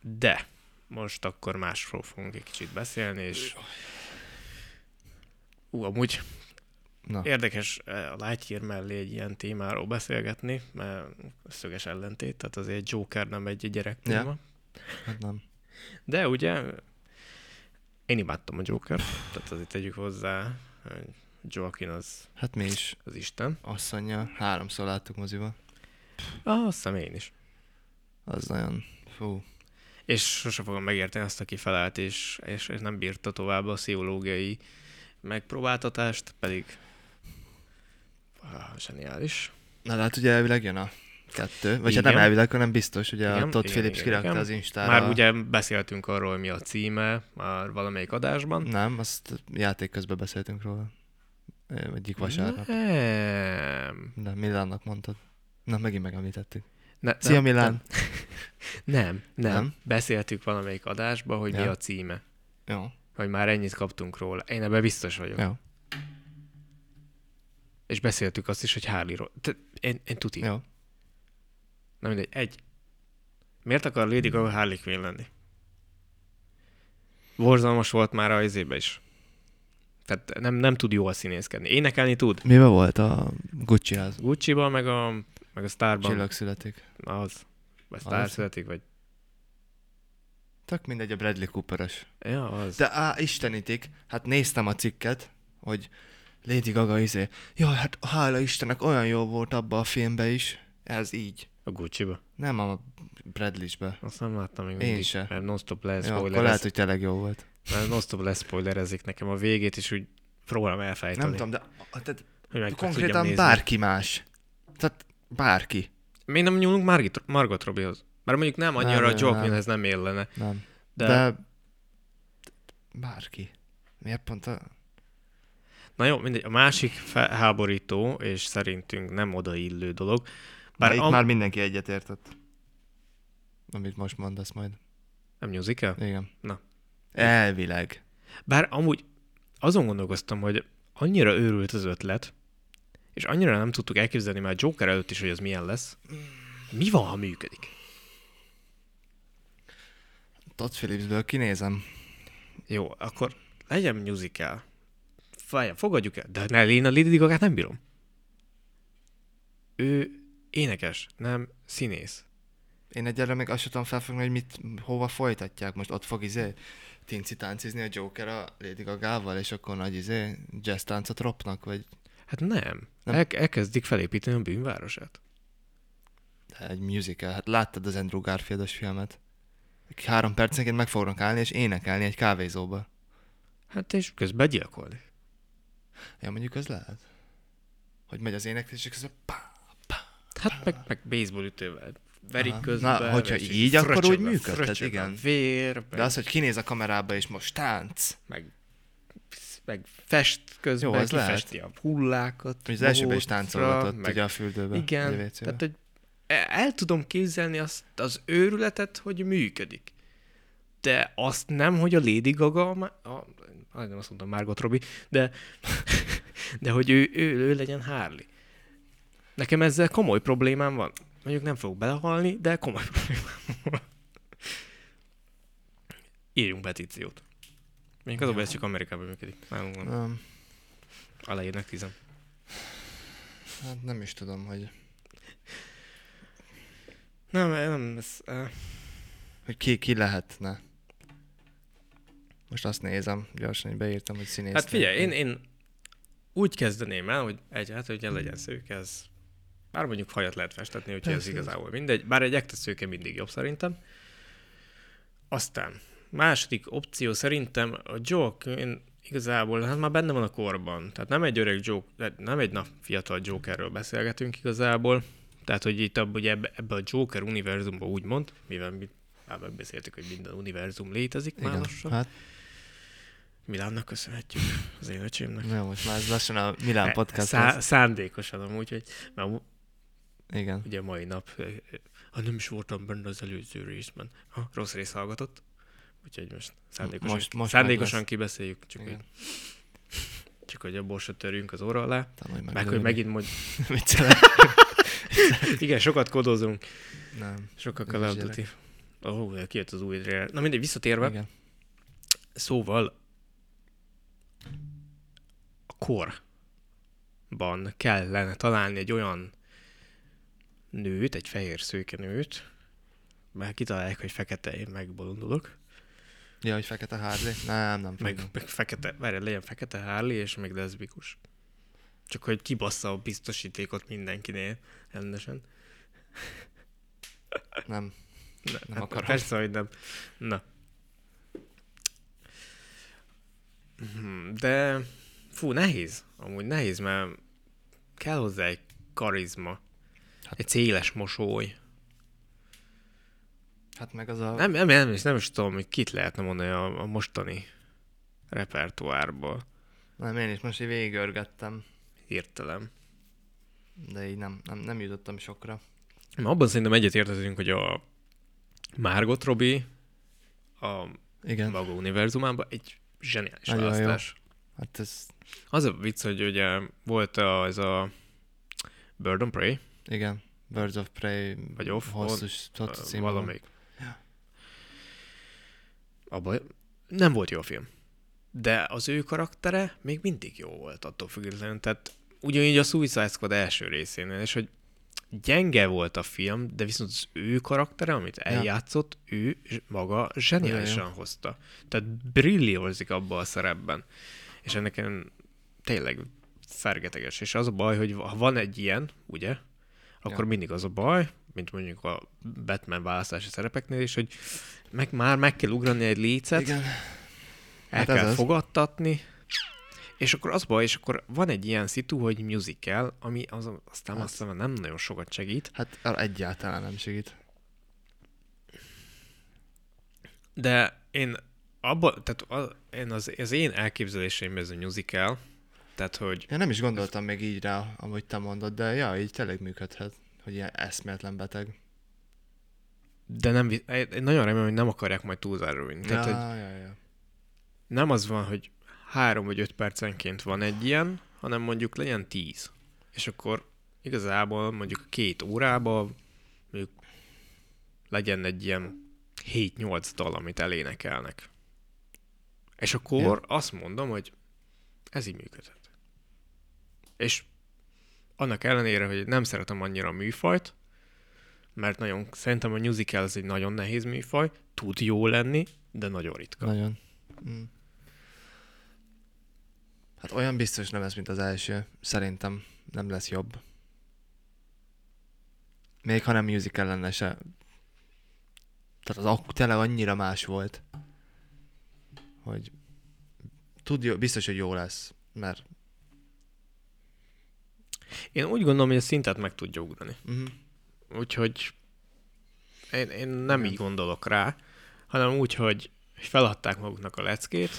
De most akkor másról fogunk egy kicsit beszélni, és ú, amúgy Na, érdekes eh, a Lightyear mellé egy ilyen témáról beszélgetni, mert szöges ellentét, tehát azért egy Joker nem egy gyerek Ja. téma. hát nem. De ugye, én imádtam a Joker, tehát azért tegyük hozzá, hogy Joaquin az, Hát mi is az Isten. asszonya, háromszor láttuk moziba. Ah, azt hiszem én is. Az nagyon... Fú. És sose fogom megérteni azt, aki felállt, és, és nem bírta tovább a sziológiai megpróbáltatást, pedig ah, zseniális. Na de hát ugye elvileg jön a kettő, vagy hát Igen. nem elvileg, hanem biztos, ugye Igen, a Todd igen, Phillips igen, kirakta igen. az Instára. Már ugye beszéltünk arról, hogy mi a címe már valamelyik adásban. Nem, azt játék közben beszéltünk róla. Ö, Mm. Egyik vasárnap. Nem. De Milánnak mondtad. Na, megint megemlítettük. Ne, Szia nem, Milán! Nem, nem. Nem? nem. Beszéltük valamelyik adásba, hogy ja. mi Ja. a címe. Jó. Hogy már ennyit kaptunk róla. Én ebben biztos vagyok. Ja. Jó. És beszéltük azt is, hogy Harley-ról. Te, én, én tuti. Ja. Jó. Na mindegy, egy. Miért akar Lady Gaga Harley Quinn lenni? Borzalmas volt már a izébe is. Tehát nem, nem tud jól színészkedni. Énekelni tud. Miben volt a Gucci az? gucci meg a, meg a Starban. Csillag születik. Az. Vagy Star Az. születik, vagy... Tök mindegy a Bradley Cooperes. Ja, az. De á, istenitik, hát néztem a cikket, hogy Lady Gaga izé, jaj, hát hála Istennek olyan jó volt abba a filmbe is. Ez így. A Gucci-ba. Nem a Bradley-sbe. Azt nem láttam még Én se. Mert non-stop lesz Jó, akkor lehet, hogy tényleg jó volt. Mert non-stop leszpoilerezik nekem a végét, és úgy próbálom elfejteni. Nem tudom, de a, tehát hogy meg tudjam konkrétan nézni. bárki más. Tehát bárki. Még nem nyúlunk Margit, Margot Robbiehoz. Bár mondjuk nem annyira Nem, nem, a nem, Joaquinhez nem illene. Nem. De, de, De bárki. Miért pont a... na jó, mindegy. A másik fe- háborító, és szerintünk nem odaillő dolog. Bár Bár itt am- már mindenki egyetértett. Amit most mondasz majd. Nem musical? Igen. Na. Elvileg. Bár amúgy azon gondolkoztam, hogy annyira őrült az ötlet, és annyira nem tudtuk elképzelni már Joker előtt is, hogy az milyen lesz. Mi van, ha működik? Todd Phillipsből kinézem. Jó, akkor legyen musical. Fájja, fogadjuk el. De ne, én a Lady gaga nem bírom. Ő énekes, nem színész. Én egyelőre még azt sem tudom felfogni, hogy mit, hova folytatják. Most ott fog izé tinci táncizni a Joker a Lady Gaga-val, és akkor nagy izé jazz táncot ropnak, vagy Hát nem. Nem. nem. El- elkezdik felépíteni a bűnvárosát. de egy musical. Hát láttad az Andrew Garfieldos filmet? Három percenként meg fognak állni és énekelni egy kávézóba. Hát és közben gyilkolni. Ja, mondjuk az lehet. Hogy megy az éneklés, és közben pá, Hát meg, meg baseball ütővel. Verik Aha. közben. Na, hogyha és így, akkor úgy fröcsög a- működhet, fröcsög a igen. Vér, meg, De az, hogy kinéz a kamerába, és most tánc. meg, meg fest közben, Jó, Jó, az lehet. kifesti a hullákat. Hogy az elsőben is bohócra, táncolgatott, meg- ugye a fürdőben. Igen, vagy a WC-be. tehát hogy el el tudom képzelni azt az őrületet, hogy működik. De azt nem, hogy a Lady Gaga, a, Ma- a, majdnem azt mondtam Margot Robbie, de, de hogy ő, ő, ő legyen Harley. Nekem ezzel komoly problémám van. Mondjuk nem fogok belehalni, de komoly problémám van. Írjunk petíciót. Még az a baj, ez csak Amerikában működik. Nálunk nem. Nem, Aláírnak tízen. hát nem is tudom, hogy, Nem, nem, ez, eh, hogy ki, ki lehetne. Most azt nézem, gyorsan hogy beírtam, hogy színész. Hát figyelj, én, én úgy kezdeném el, hogy egy, hát ugye legyen szőke, ez bár mondjuk hajat lehet festetni, úgyhogy ez Persze. igazából mindegy, bár egy ekte szőke mindig jobb szerintem. Aztán második opció szerintem a Joker, igazából hát már benne van a korban, tehát nem egy öreg Joker, nem egy nap fiatal Jokerről beszélgetünk igazából, tehát hogy itt abban, ugye ebbe, ebbe a Joker univerzumban úgymond, mivel mi már megbeszéltük, hogy minden univerzum létezik már Igen, lassan. hát Milánnak köszönhetjük, az én öcsémnek. jó, most már ez lassan a Milán podcast E, Szá- lesz. szándékosan amúgy, hogy mert amú- Igen. ugye mai nap, ö, ö, ha nem is voltam benne az előző részben, ha rossz rész hallgatott, úgyhogy most szándékosan, Most- most szándékosan meg kibeszéljük, csak hogy, Igen. csak hogy a borsot törjünk az óra alá, Tanulj meg. meg hogy lőni. megint mondj, Viccelek. igen, sokat kodozunk, Nem. sokkal Ügyes Call of gyerek. Duty. Ó, oh, kijött az új trailer. Na mindegy, visszatérve, Igen. Szóval a korban kellene találni egy olyan nőt, egy fehér szőke nőt, mert kitalálják, hogy fekete, én megbolondulok, Ja, hogy fekete Harley? Nem, nem meg, fogom. meg fekete, várj, legyen fekete Harley, és még leszbikus. Csak hogy kibassza a biztosítékot mindenkinél rendesen. Nem. Ne, Nem akarom. Persze, hogy nem. Na. Mhm, De fú, nehéz. Amúgy nehéz, mert kell hozzá egy karizma. Egy széles mosoly. Hát meg az a... Nem, nem, nem, is, nem is tudom, hogy kit lehetne mondani a, a mostani repertoárból. nem én is most így végigörgettem, Hirtelen. de így nem, nem, nem jutottam sokra. Na, Abban szerintem egyetértetünk, hogy a Margot Robbie a Igen. maga univerzumában egy zseniális Nagyon jó. választás. Hát ez, Az a vicc, hogy ugye volt a, ez a Bird on Prey, igen. Birds of Prey, Vagy Off, hosszú, hosszú Ö, címe van. valamelyik. Abba nem volt jó a film. De az ő karaktere még mindig jó volt attól függetlenül. Tehát ugyanígy a Suicide Squad első részénél, és hogy gyenge volt a film, de viszont az ő karaktere, amit eljátszott, ő zs- maga zseniálisan hozta. Tehát brilliózik abba a szerepben. És ennek en- tényleg fergeteges. És az a baj, hogy ha van egy ilyen, ugye, akkor Ja. mindig az a baj, mint mondjuk a Batman választási szerepeknél is, hogy meg, már meg kell ugrani egy lécet, Igen. el Hát ez kell az. fogadtatni, és akkor az baj, és akkor van egy ilyen szitu, hogy musical, ami az, aztán azt hiszem nem nagyon sokat segít, Hát arra egyáltalán nem segít. de én abba, tehát a, én az, az én elképzeléseim ez a musical, tehát hogy Ja, nem is gondoltam még így rá, amúgy te mondod, de ja, így tényleg működhet, hogy ilyen eszméletlen beteg. de nem, vi- én nagyon remélem, hogy nem akarják majd túlzárulni. Tehát, hogy ja, ja, ja. nem az van, hogy három vagy öt percenként van egy ilyen, hanem mondjuk legyen tíz. És akkor igazából mondjuk a két órában mondjuk legyen egy ilyen 7-8 dal, amit elénekelnek. És akkor azt mondom, hogy ez így működhet. És annak ellenére, hogy nem szeretem annyira a műfajt, mert nagyon, szerintem a musical az egy nagyon nehéz műfaj, tud jó lenni, de nagyon ritka. Nagyon. Mm. Hát olyan biztos nem lesz, mint az első. Szerintem nem lesz jobb. Még ha nem musical lenne se. Tehát az akku tele annyira más volt, hogy tudja, biztos, hogy jó lesz, mert Én úgy gondolom, hogy a szintet meg tudja ugrani. Mhm. Úgyhogy én, én nem így gondolok rá, hanem úgy, hogy feladták maguknak a leckét,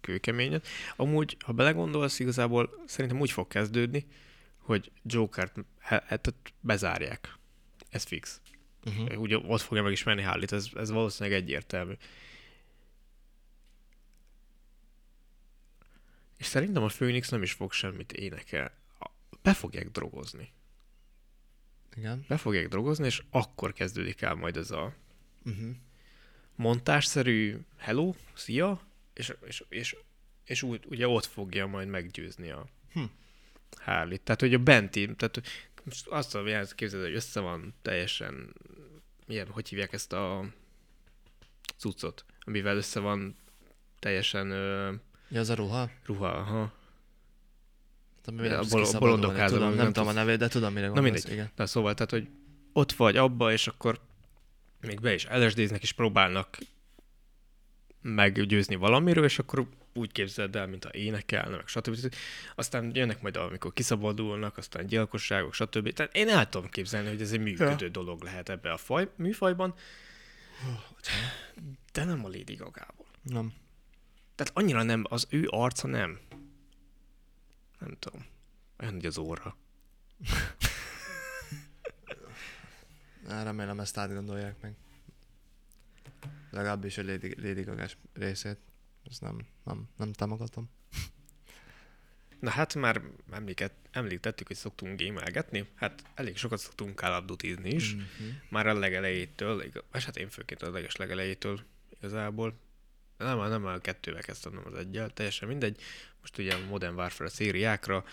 kőkeményet. Amúgy, ha belegondolsz, igazából szerintem úgy fog kezdődni, hogy Jokert he- hát ott bezárják. Ez fix. Uh-huh. Ugye ott fogja megismerni Harley-t, ez, ez valószínűleg egyértelmű. És szerintem a Phoenix nem is fog semmit énekel. Be fogják drogozni igen. be fogják drogozni, és akkor kezdődik el majd ez a Uh-huh. montásszerű hello, szia, és, és, és, és úgy, ugye ott fogja majd meggyőzni a hm. Harley-t. Tehát, hogy a benti, tehát most azt a jelentet képzeld, hogy össze van teljesen, ilyen, hogy hívják ezt a cuccot, amivel össze van teljesen ö, Ja, az a ruha? ruha, aha. Tudom, Ja, ja, a bol- bol- bolondok bolondok házában, tudom, nem nem tudom a tudsz- nevét, de tudom, mire Na gondolsz. mindegy. Igen. Na szóval, tehát, hogy ott vagy abba, és akkor még be is LSD-znek, és próbálnak meggyőzni valamiről, és akkor úgy képzeld el, mintha énekelne, meg stb. Aztán jönnek majd, amikor kiszabadulnak, aztán gyilkosságok, stb. Tehát én el tudom képzelni, hogy ez egy működő ja. dolog lehet ebbe a faj, műfajban, de nem a Lady Gagából. Nem. Tehát annyira nem, az ő arca nem. Nem tudom. Olyan, hogy az óra. Á, Remélem ezt átgondolják meg. Legalábbis a Lady, Lady Gaga-s részét. Ezt nem, nem, nem támogatom. Na hát már emléket, említettük, hogy szoktunk gémelgetni, hát elég sokat szoktunk állapdutizni is, mm-hmm. már a legelejétől, iga- és hát én főként a leges legelejétől igazából, nem, nem a kettővel kezdtem, nem az egyel, teljesen mindegy, most ugye a Modern Warfare szériákra,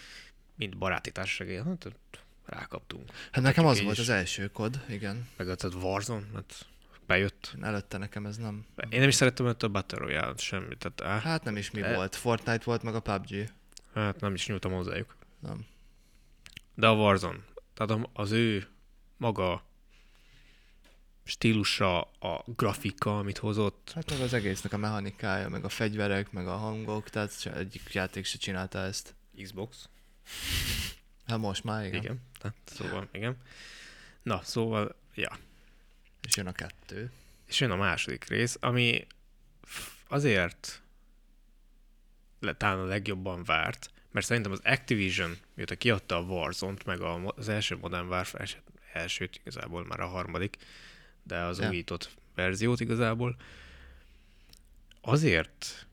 mint baráti társasági, hát ott rákaptunk. Hát nekem az én volt is. az első kod, igen. Meg ott a Warzone, hát bejött. Előtte nekem ez nem. Én nem is szerettem ott a Battle Royale-t, semmit, tehát á, Hát nem is mi De- volt. Fortnite volt, meg a PUBG. hát nem is nyúltam hozzájuk. Nem. De a Warzone, tehát a- az ő maga stílusa, a grafika, amit hozott, Hát meg az egésznek a mechanikája, meg a fegyverek, meg a hangok, tehát se- egyik játék se csinálta ezt. Xbox, Hát most már, igen. igen, igen. igen. Na, szóval, igen. Na, szóval, ja. És jön a kettő. És jön a második rész, ami f- azért le- talán a legjobban várt, mert szerintem az Activision, mióta kiadta a Warzone-t, meg a, mo- az első Modern Warfare, és hát elsőt, igazából már a harmadik, de az Ja. ja. újított verziót igazából. Azért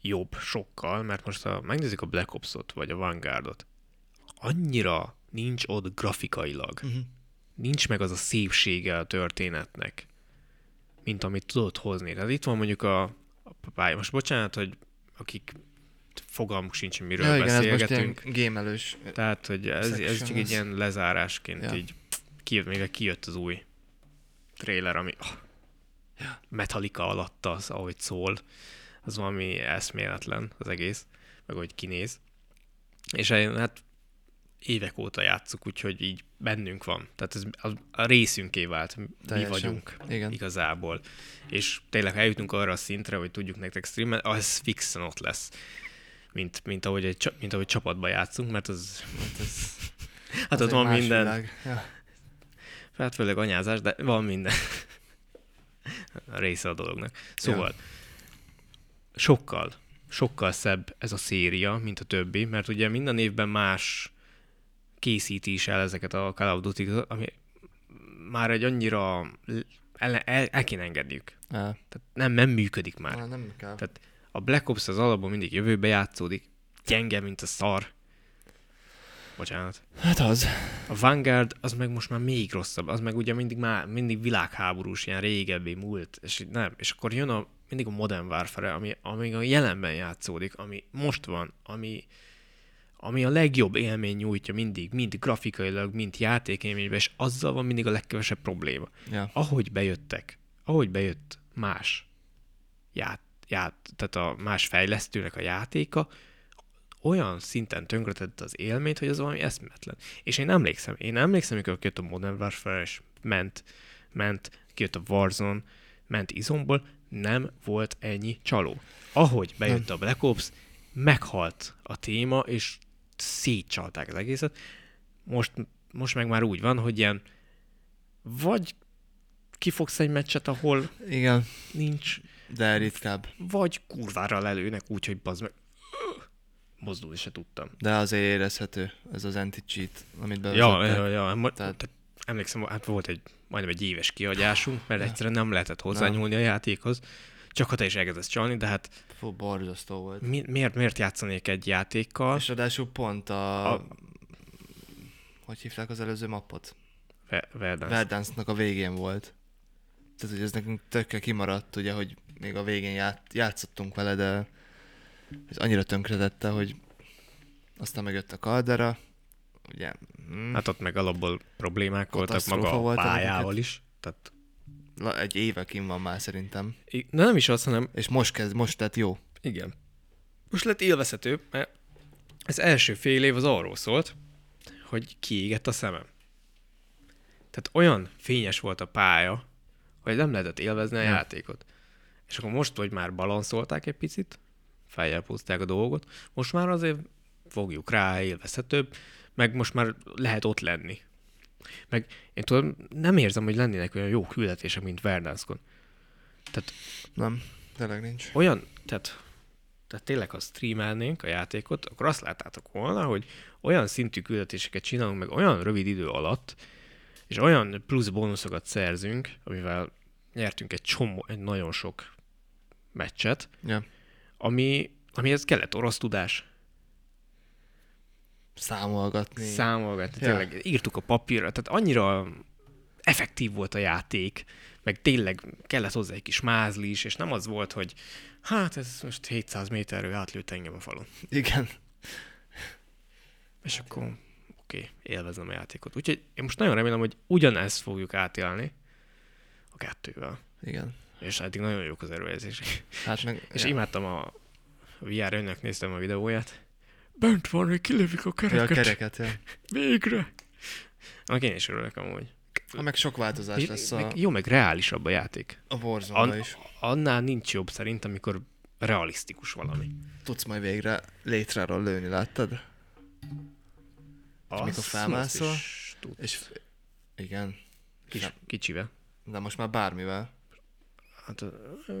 jobb sokkal, mert most ha megnézzük a Black Ops-ot, vagy a Vanguardot, annyira nincs ott grafikailag. Mhm. Uh-huh. Nincs meg az a szépsége a történetnek, mint amit tudod hozni. Tehát itt van mondjuk a, a pálya. Most bocsánat, hogy akik fogalmuk sincs, hogy miről Ja, igen, ez most beszélgetünk. ilyen gémelős. Tehát, hogy ez, ez csak Section, egy ez- ilyen lezárásként Ja. így kijött, még kijött az új trailer, ami oh, Metallica alatt az, ahogy szól, az valami eszméletlen az egész, meg ahogy kinéz. És én, hát évek óta játszuk, úgyhogy így bennünk van. Tehát ez a, a részünké vált, Teljesen. mi vagyunk Igen. igazából. És tényleg ha eljutunk arra a szintre, hogy tudjuk nektek streamen, az fixen ott lesz. Mint, mint, ahogy, egy, csa- mint ahogy csapatban játszunk, mert az... Hát, ez, hát ott egy van más minden. világ. Ja. Hát főleg anyázás, de van minden. A része a dolognak. Szóval, sokkal, sokkal szebb ez a széria, mint a többi, mert ugye minden évben más készíti is el ezeket a Call of duty ami már egy annyira el, el, el kéne engedniük. Ja. Tehát nem, nem működik már. Már nem kell. Tehát a Black Ops az alapból mindig jövőbe játszódik, gyenge, mint a szar. Bocsánat. Hát az. A Vanguard az meg most már még rosszabb, az meg ugye mindig már mindig világháborús, ilyen régebbi múlt, és így nem. És akkor jön a, mindig a Modern Warfare, ami, ami a jelenben játszódik, ami most van, ami, ami a legjobb élmény nyújtja mindig, mind grafikailag, mind játékélményben, és azzal van mindig a legkevesebb probléma Ja. ahogy bejöttek, ahogy bejött más ját, ját, tehát a más fejlesztőnek a játéka, olyan szinten tönkretett az élményt, hogy az valami eszmetlen. És én emlékszem, én emlékszem, amikor kijött a Modern Warfare, és ment, ment, kijött a Warzone, ment izomból, nem volt ennyi csaló. Ahogy bejött a Black Ops, meghalt a téma, és szétcsalták az egészet. Most, most meg már úgy van, hogy ilyen vagy kifogsz egy meccset, ahol Igen, nincs, de ritkább. vagy kurvára lelőnek úgy, hogy bazd meg. Mozdulni se tudtam. De azért érezhető ez az anti-cheat, amit Ja, bevezettek. ja, ja. Ma, Tehát- tehát... Tehát emlékszem, hát volt egy majdnem egy éves kiagyásunk, mert egyszerűen nem lehetett hozzányúlni a játékhoz. Csak ha te is elkezdesz csalni, de hát Fú, borzasztó volt. mi, miért, miért játszanék egy játékkal? És ráadásul pont a... A- Hogy hívták az előző mappot? Ve- Verdance. Verdance-nak a végén volt. Tehát, hogy ez nekünk tökkel kimaradt, ugye, hogy még a végén ját, játszottunk vele, de ez annyira tönkretette, hogy aztán megjött a kaldera, ugye, hm, Hát ott meg alapból problémák voltak Katasztrófa maga a volt pályával amiket. is. Tehát, la- egy évekin van már szerintem. I- na nem is az, hanem És most kezd, most lett jó. Igen. Most lett élvezhető, mert az első fél év az arról szólt, hogy kiégett a szemem. Tehát olyan fényes volt a pálya, hogy nem lehetett élvezni a játékot. És akkor most, hogy már balanszolták egy picit, feljebb húzták a dolgot, most már azért fogjuk rá, élvezhetőbb, meg most már lehet ott lenni. Meg én tudom, nem érzem, hogy lennének olyan jó küldetések, mint Verdanskon. Tehát Nem, tényleg nincs. olyan, tehát, tehát tényleg, ha streamelnénk a játékot, akkor azt láttátok volna, hogy olyan szintű küldetéseket csinálunk meg olyan rövid idő alatt, és olyan plusz bónuszokat szerzünk, amivel nyertünk egy csomó, egy nagyon sok meccset, Ja. ami, amihez kellett orosz tudás, Számolgatni. számolgatni, Ja. tényleg írtuk a papírra, tehát annyira effektív volt a játék, meg tényleg kellett hozzá egy kis mázli is, és nem az volt, hogy hát ez most 700 méterről átlőtt engem a falon. Igen. És akkor oké, okay, élvezem a játékot. Úgyhogy én most nagyon remélem, hogy ugyanezt fogjuk átélni a kettővel. Igen. És eddig nagyon jók az erőjelzések. Hát meg... És imádtam a VR önnek néztem a videóját. Bent van, hogy kilövik a ja, a kereket. kereket, ja. Végre! Annak én is örülök amúgy. Ha meg sok változás lesz a, Meg jó, meg reálisabb a játék. a warzone An- is. annál nincs jobb szerint, amikor realisztikus valami. Tudsz majd végre létráról lőni, láttad? Azt, mikor felmászol, azt is tud. És igen. Kis, Nem. kicsivel. De most már bármivel. Hát ö,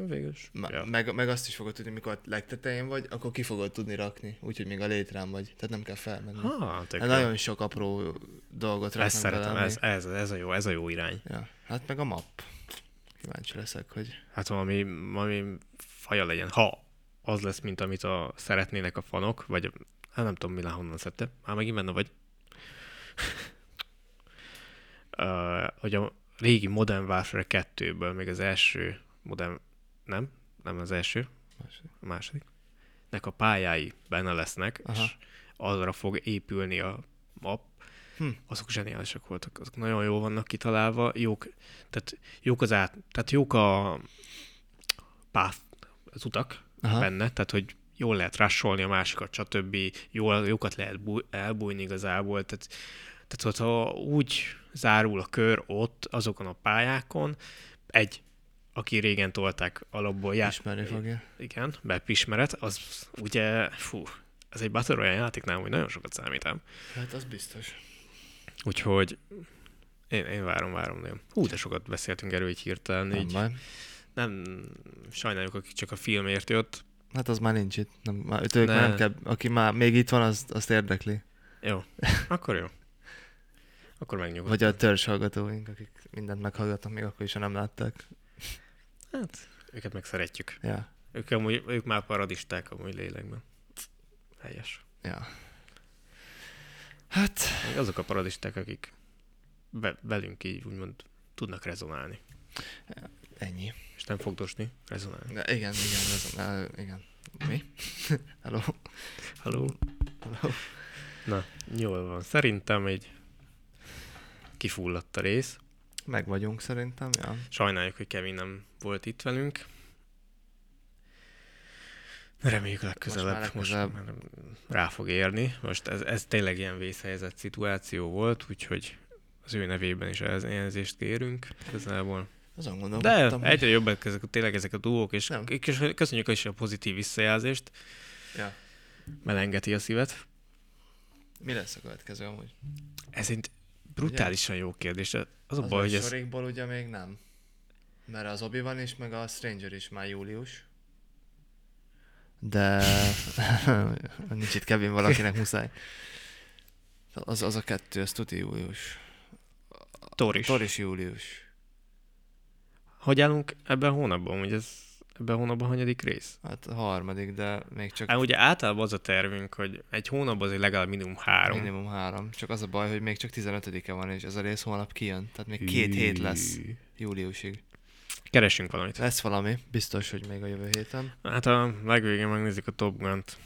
végül is. Me- Ja. meg, meg, azt is fogod tudni, mikor legtetején vagy, akkor ki fogod tudni rakni, úgyhogy még a létrán vagy, tehát nem kell felmenni. Ha, Ha, Ah, tök hát jó. nagyon sok apró dolgot Ezt raknak bele, szeretem, ami- ez, ez, ez, a jó, ez a jó irány. Ja. Hát meg a map. Kíváncsi leszek, hogy... Hát valami, valami faja legyen, ha az lesz, mint amit a, szeretnének a fanok, vagy hát nem tudom, Milán honnan szedte, már megint benne vagy. Ö, hogy a régi Modern Warfare 2-ből még az első Modern, nem, nem az első, Második. a második, nek a pályái benne lesznek, Aha. Aha. és arra fog épülni a map, Hm. azok zseniálisak voltak, azok nagyon jól vannak kitalálva, jók, tehát jók az át, tehát jók a páth, az utak Aha. Aha. benne, tehát hogy jól lehet rassolni a másikat, stb. Jól, jókat lehet búj, elbújni igazából, tehát, tehát ott, ha úgy zárul a kör ott, azokon a pályákon, egy, aki régen tolták alapból jár, Ismerni fogja. igen, map ismeret, az ugye, fú, ez egy Battle Royale játéknál, hogy nagyon sokat számítám. Hát az biztos. Úgyhogy én, én várom, várom nagyon. Hú, de sokat beszéltünk erről így hirtelen, Nem így baj. nem sajnáljuk, akik csak a filmért jött. Hát az már nincs itt. Nem, már, őt, ők Ne. már nem kell, aki már még itt van, azt, azt érdekli. Jó, akkor jó. Akkor megnyugodom. Vagy a törzs hallgatóink, akik mindent meghallgatnak, még akkor is, ha nem látták. Hát, őket meg szeretjük. Ja, Ők, amúgy, ők már paradisták amúgy lélekben. Helyes. ja. Hát, Még azok a paradisták, akik be, velünk így úgymond tudnak rezonálni. ennyi. És nem fogdosni, rezonálni. De igen, igen, ez, na, igen. Mi? Hello? Hello. Hello? Na, jól van. Szerintem egy kifulladt a rész. Meg vagyunk szerintem, ja. Sajnáljuk, hogy Kevin nem volt itt velünk. Reméljük legközelebb, már most, legközelebb. már rá fog érni. Most ez, ez tényleg ilyen vészhelyzet szituáció volt, úgyhogy az ő nevében is elnézést kérünk igazából. Azon De gondolkodtam, egyre jobbak ezek, tényleg ezek a duók, és Nem. és köszönjük is a pozitív visszajelzést, Ja. melengeti a szívet. Mi lesz a következő amúgy? Ez egy brutálisan jó kérdés. Az a baj, Szóval, hogy ez... sorikból ugye még nem. Mert az obi van is, meg a Stranger is már július. De nincs itt Kevin valakinek muszáj. Az, az a kettő, az tuti július. Tor is. Tor is július. Hogy állunk ebben a hónapban? Ugye ez ebben a hónapban hanyadik rész? Hát a harmadik, de még csak Hát ugye általában az a tervünk, hogy egy hónapban azért legalább minimum három. minimum három. Csak az a baj, hogy még csak 15-e van, és ez a rész holnap kijön. Tehát még két hét lesz Hű. júliusig. Keresünk valamit. Lesz valami, biztos, hogy még a jövő héten. Hát a legvégén megnézzük a Top Gun-t.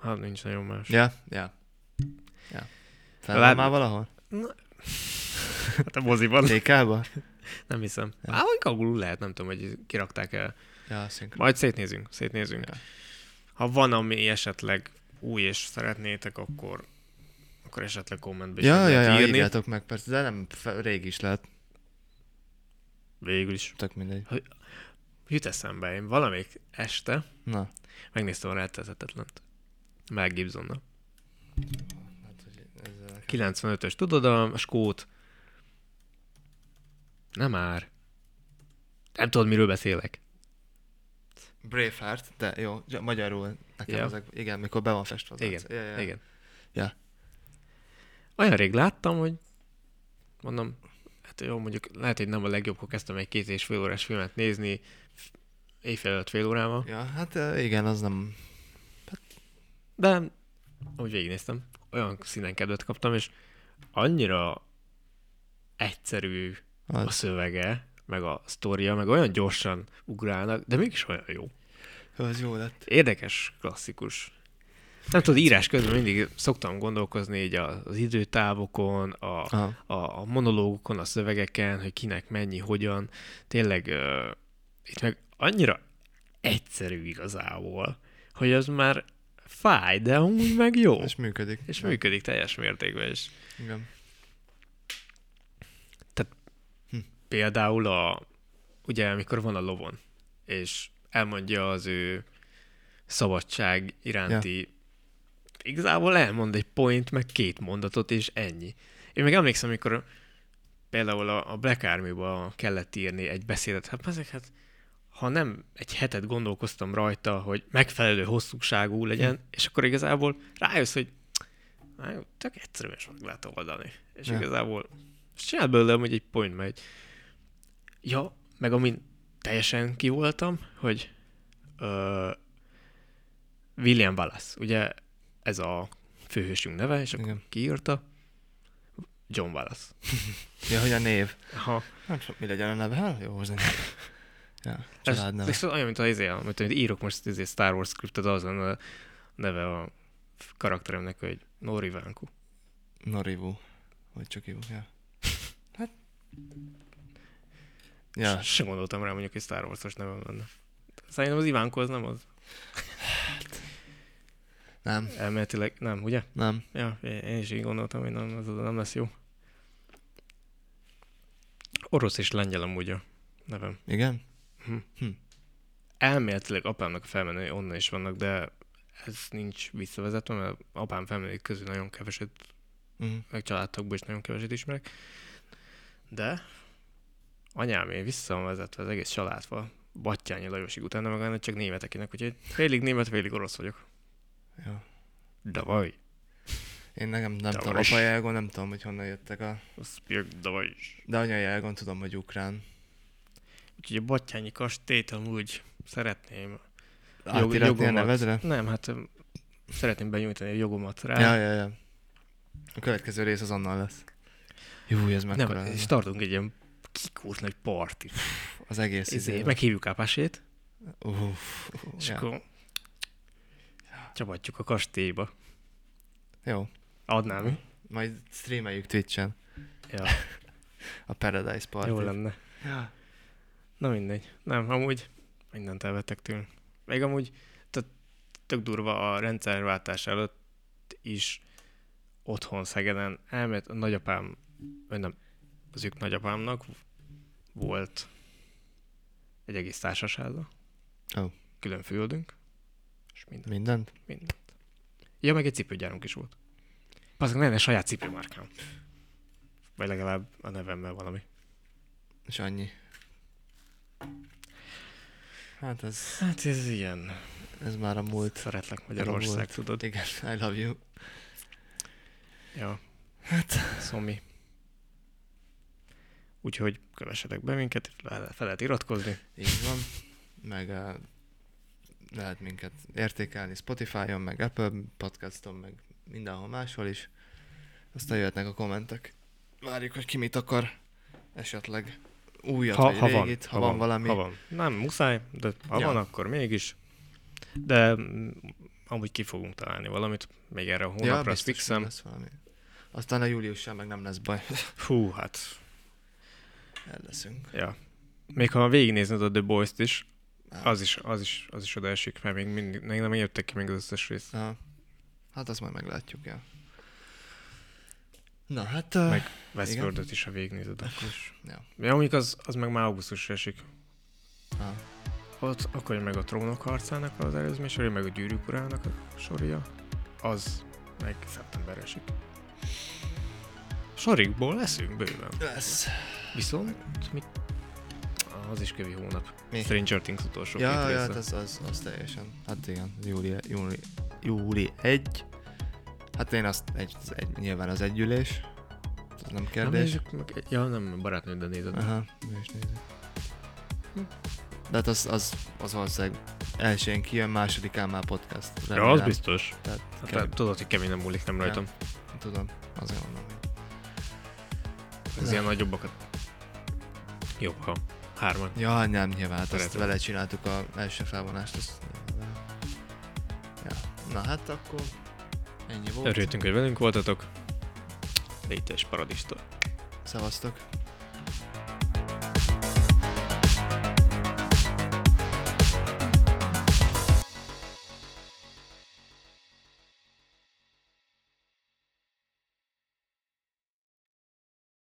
Hát nincs nagyon más. Ja, ja. ja. Fel Lát- van már valahol? Hát a moziban. TK-ba? Nem hiszem. Hát vagy kagulul lehet, nem tudom, hogy kirakták el. Ja, szinkron. Majd szétnézünk, szétnézünk. Ja. Ha van, ami esetleg új és szeretnétek, akkor akkor esetleg kommentbe is Ja, meg ja, lehet ja, írni. írjátok meg, persze, de nem fe- rég is lehet, Végül is. tök mindegy. Jut eszembe, én valamelyik este Na, megnéztem a Rettethetetlent. Mel Gibsonnal. hát, hogy ezzel 95-ös, tudod a skót? Nem már. Nem tudod, miről beszélek. Braveheart, de jó, ja, magyarul nekem Ja. yeah. ezek, igen, mikor be van festve az Igen, arc. Hát, ja, ja. Igen. Ja. Olyan rég láttam, hogy mondom, hát jó, mondjuk lehet, hogy nem a legjobb, akkor kezdtem egy két és fél órás filmet nézni, f- éjfél előtt fél órával, Ja, hát eh, igen, az nem, de ahogy végignéztem, olyan színen kedvet kaptam, és annyira egyszerű az, a szövege, meg a sztoria, meg olyan gyorsan ugrálnak, de mégis olyan jó. az jó lett. Érdekes, klasszikus. Nem tudod, írás közben mindig szoktam gondolkozni így a- az időtávokon, a, Aha. a, a monológokon, a szövegeken, hogy kinek mennyi, hogyan. Tényleg uh, itt meg annyira egyszerű igazából, hogy az már fáj, de amúgy meg jó. És működik. És Ja, működik teljes mértékben is. Igen. hm, például a, ugye amikor van a lovon, és elmondja az ő szabadság iránti, ja. igazából elmond egy point, meg két mondatot, és ennyi. Én még emlékszem, amikor például a, a Black army kellett írni egy beszédet, hát ezek hát ha nem egy hetet gondolkoztam rajta, hogy megfelelő hosszúságú legyen, és akkor igazából rájössz, hogy "Á, jó, tök egyszerűen is meg lehet oldani. És Ja. igazából és csináld belőle, hogy egy point megy. Ja, meg amin teljesen ki voltam, hogy ö, William Wallace, ugye ez a főhősünk neve, és akkor Igen. kiírta, John Wallace. Ja, hogy a név. Aha. Hát, mi legyen a neve? Hát, Jó, hozzá. Ja, Ez, családneve. ez olyan, mint az izé, amit amit írok most izé Star Wars scriptet, azon a neve a karakteremnek, hogy Nori Vánku. Norivu. Vagy csak Ivu, ja. Hát. Ja, Sem gondoltam rá, mondjuk, hogy Star Wars-os nevem lenne. Szerintem az Ivánko az nem az. nem, Elméletileg nem, ugye? nem. Ja, én én is így gondoltam, hogy nem, ez nem lesz jó. Orosz és lengyel amúgy a nevem. Igen? elméletileg apámnak a felmenői onnan is vannak, de ez nincs visszavezetve, mert apám felmenői közül nagyon keveset, Mhm. meg családtagból is nagyon keveset ismerek. De anyámé vissza van vezetve az egész családba, Battyányi Lajosig utána meg lenne csak németekinek, úgyhogy félig német, félig orosz vagyok. Jó. Davaj, Én nekem nem tudom, Tavaros. apai elgon nem tudom, hogy honnan jöttek a... oszpiak, davaj. De anyai elgon tudom, hogy ukrán. Úgyhogy a Battyányi kastélyt amúgy szeretném. Átiratni a jogomat. nevedre? Nem, hát öm, szeretném benyújtani a jogomat rá. Ja, ja, ja. A következő rész az annal lesz. Jó, ez nem, Hát mekkora. és Nem, tartunk egy ilyen kikúrt nagy partit. az egész Izé, izé. meghívjuk Ápásét, Uff, és ja. akkor csapatjuk a kastélyba. Jó, Adnám. mi? majd streameljük Twitch-en Ja, a Paradise Party. jó lenne. Ja. Na mindegy. Nem, amúgy mindent elvettek tőlünk. Még amúgy tehát tök durva a rendszerváltás előtt is otthon Szegeden elmét a nagyapám, vagy nem, az ők nagyapámnak volt egy egész társasága. Ó. Külön főöldünk, és minden. Mindent? Mindent. Ja, meg egy cipőgyárunk is volt. Pazzak, lenne saját cipőmárkám. Vagy legalább a nevemmel valami. És annyi. Hát ez, Hát ez ilyen. ez már a múlt. Szeretlek Magyarország, Elabult. tudod. Igen, I love you. Ja. Hát. Szomi. Úgyhogy kövessetek be minket, le- fel lehet iratkozni. Így van. Meg uh, lehet minket értékelni Spotify-on, meg Apple podcaston, meg mindenhol máshol is. Aztán jöhetnek a kommentek. Várjuk, hogy ki mit akar. Esetleg újat, vagy régit, ha, van, valami. Ha van. Nem muszáj, de ha Ja. van, akkor mégis. De mm, amúgy ki fogunk találni valamit, még erre a hónapra, ja, azt biztos, hogy fixem. lesz valami. Aztán a júliussal meg nem lesz baj. Fú, hát, El leszünk. ja. Még ha végignéznéd a The Boys-t is, Á, Az is, az is, az is odaesik, mert még mindig, még nem jöttek ki még az összes rész. Aha. Hát azt majd meglátjuk, ja. Na hát... Uh, Meg- Westworldot is, ha végignézed. akkor is, ja. Ja, mondjuk az, az meg már augusztusra esik. Ah. Ott, akkor jön meg a trónok harcának az előzmény sorja, meg a gyűrűk urának a sorja. Az meg szeptemberre esik. Sorikból leszünk bőven. Lesz. Viszont mi? Ah, Az is kövi hónap. Mi? Stranger Things utolsó Ja, két ja, része. hát az, az, az teljesen. Hát igen, júli, júli, júli 1. Hát én azt, egy, az egy, nyilván az együlés. Az nem Nem kérdés. nézzük meg. Ja, nem, barátnő, de nézed. Aha, mi is nézzük. De hát az, az, az valószínűleg elsőn kijön, másodikán már podcast. Ja, az remélem. biztos. Tehát, Hát, kell, te tudod, hogy kemény nem múlik, nem Ja. rajtam. tudom, azért mondom. hogy- Az ilyen nagyobbakat. Jobb, ha hárman. Ja, nem, nyilván, hát azt Szeretem. vele csináltuk a első felvonást. Azt, ja. Na hát akkor ennyi volt. Örültünk, hogy velünk voltatok. Létes paradista. Szevasztok.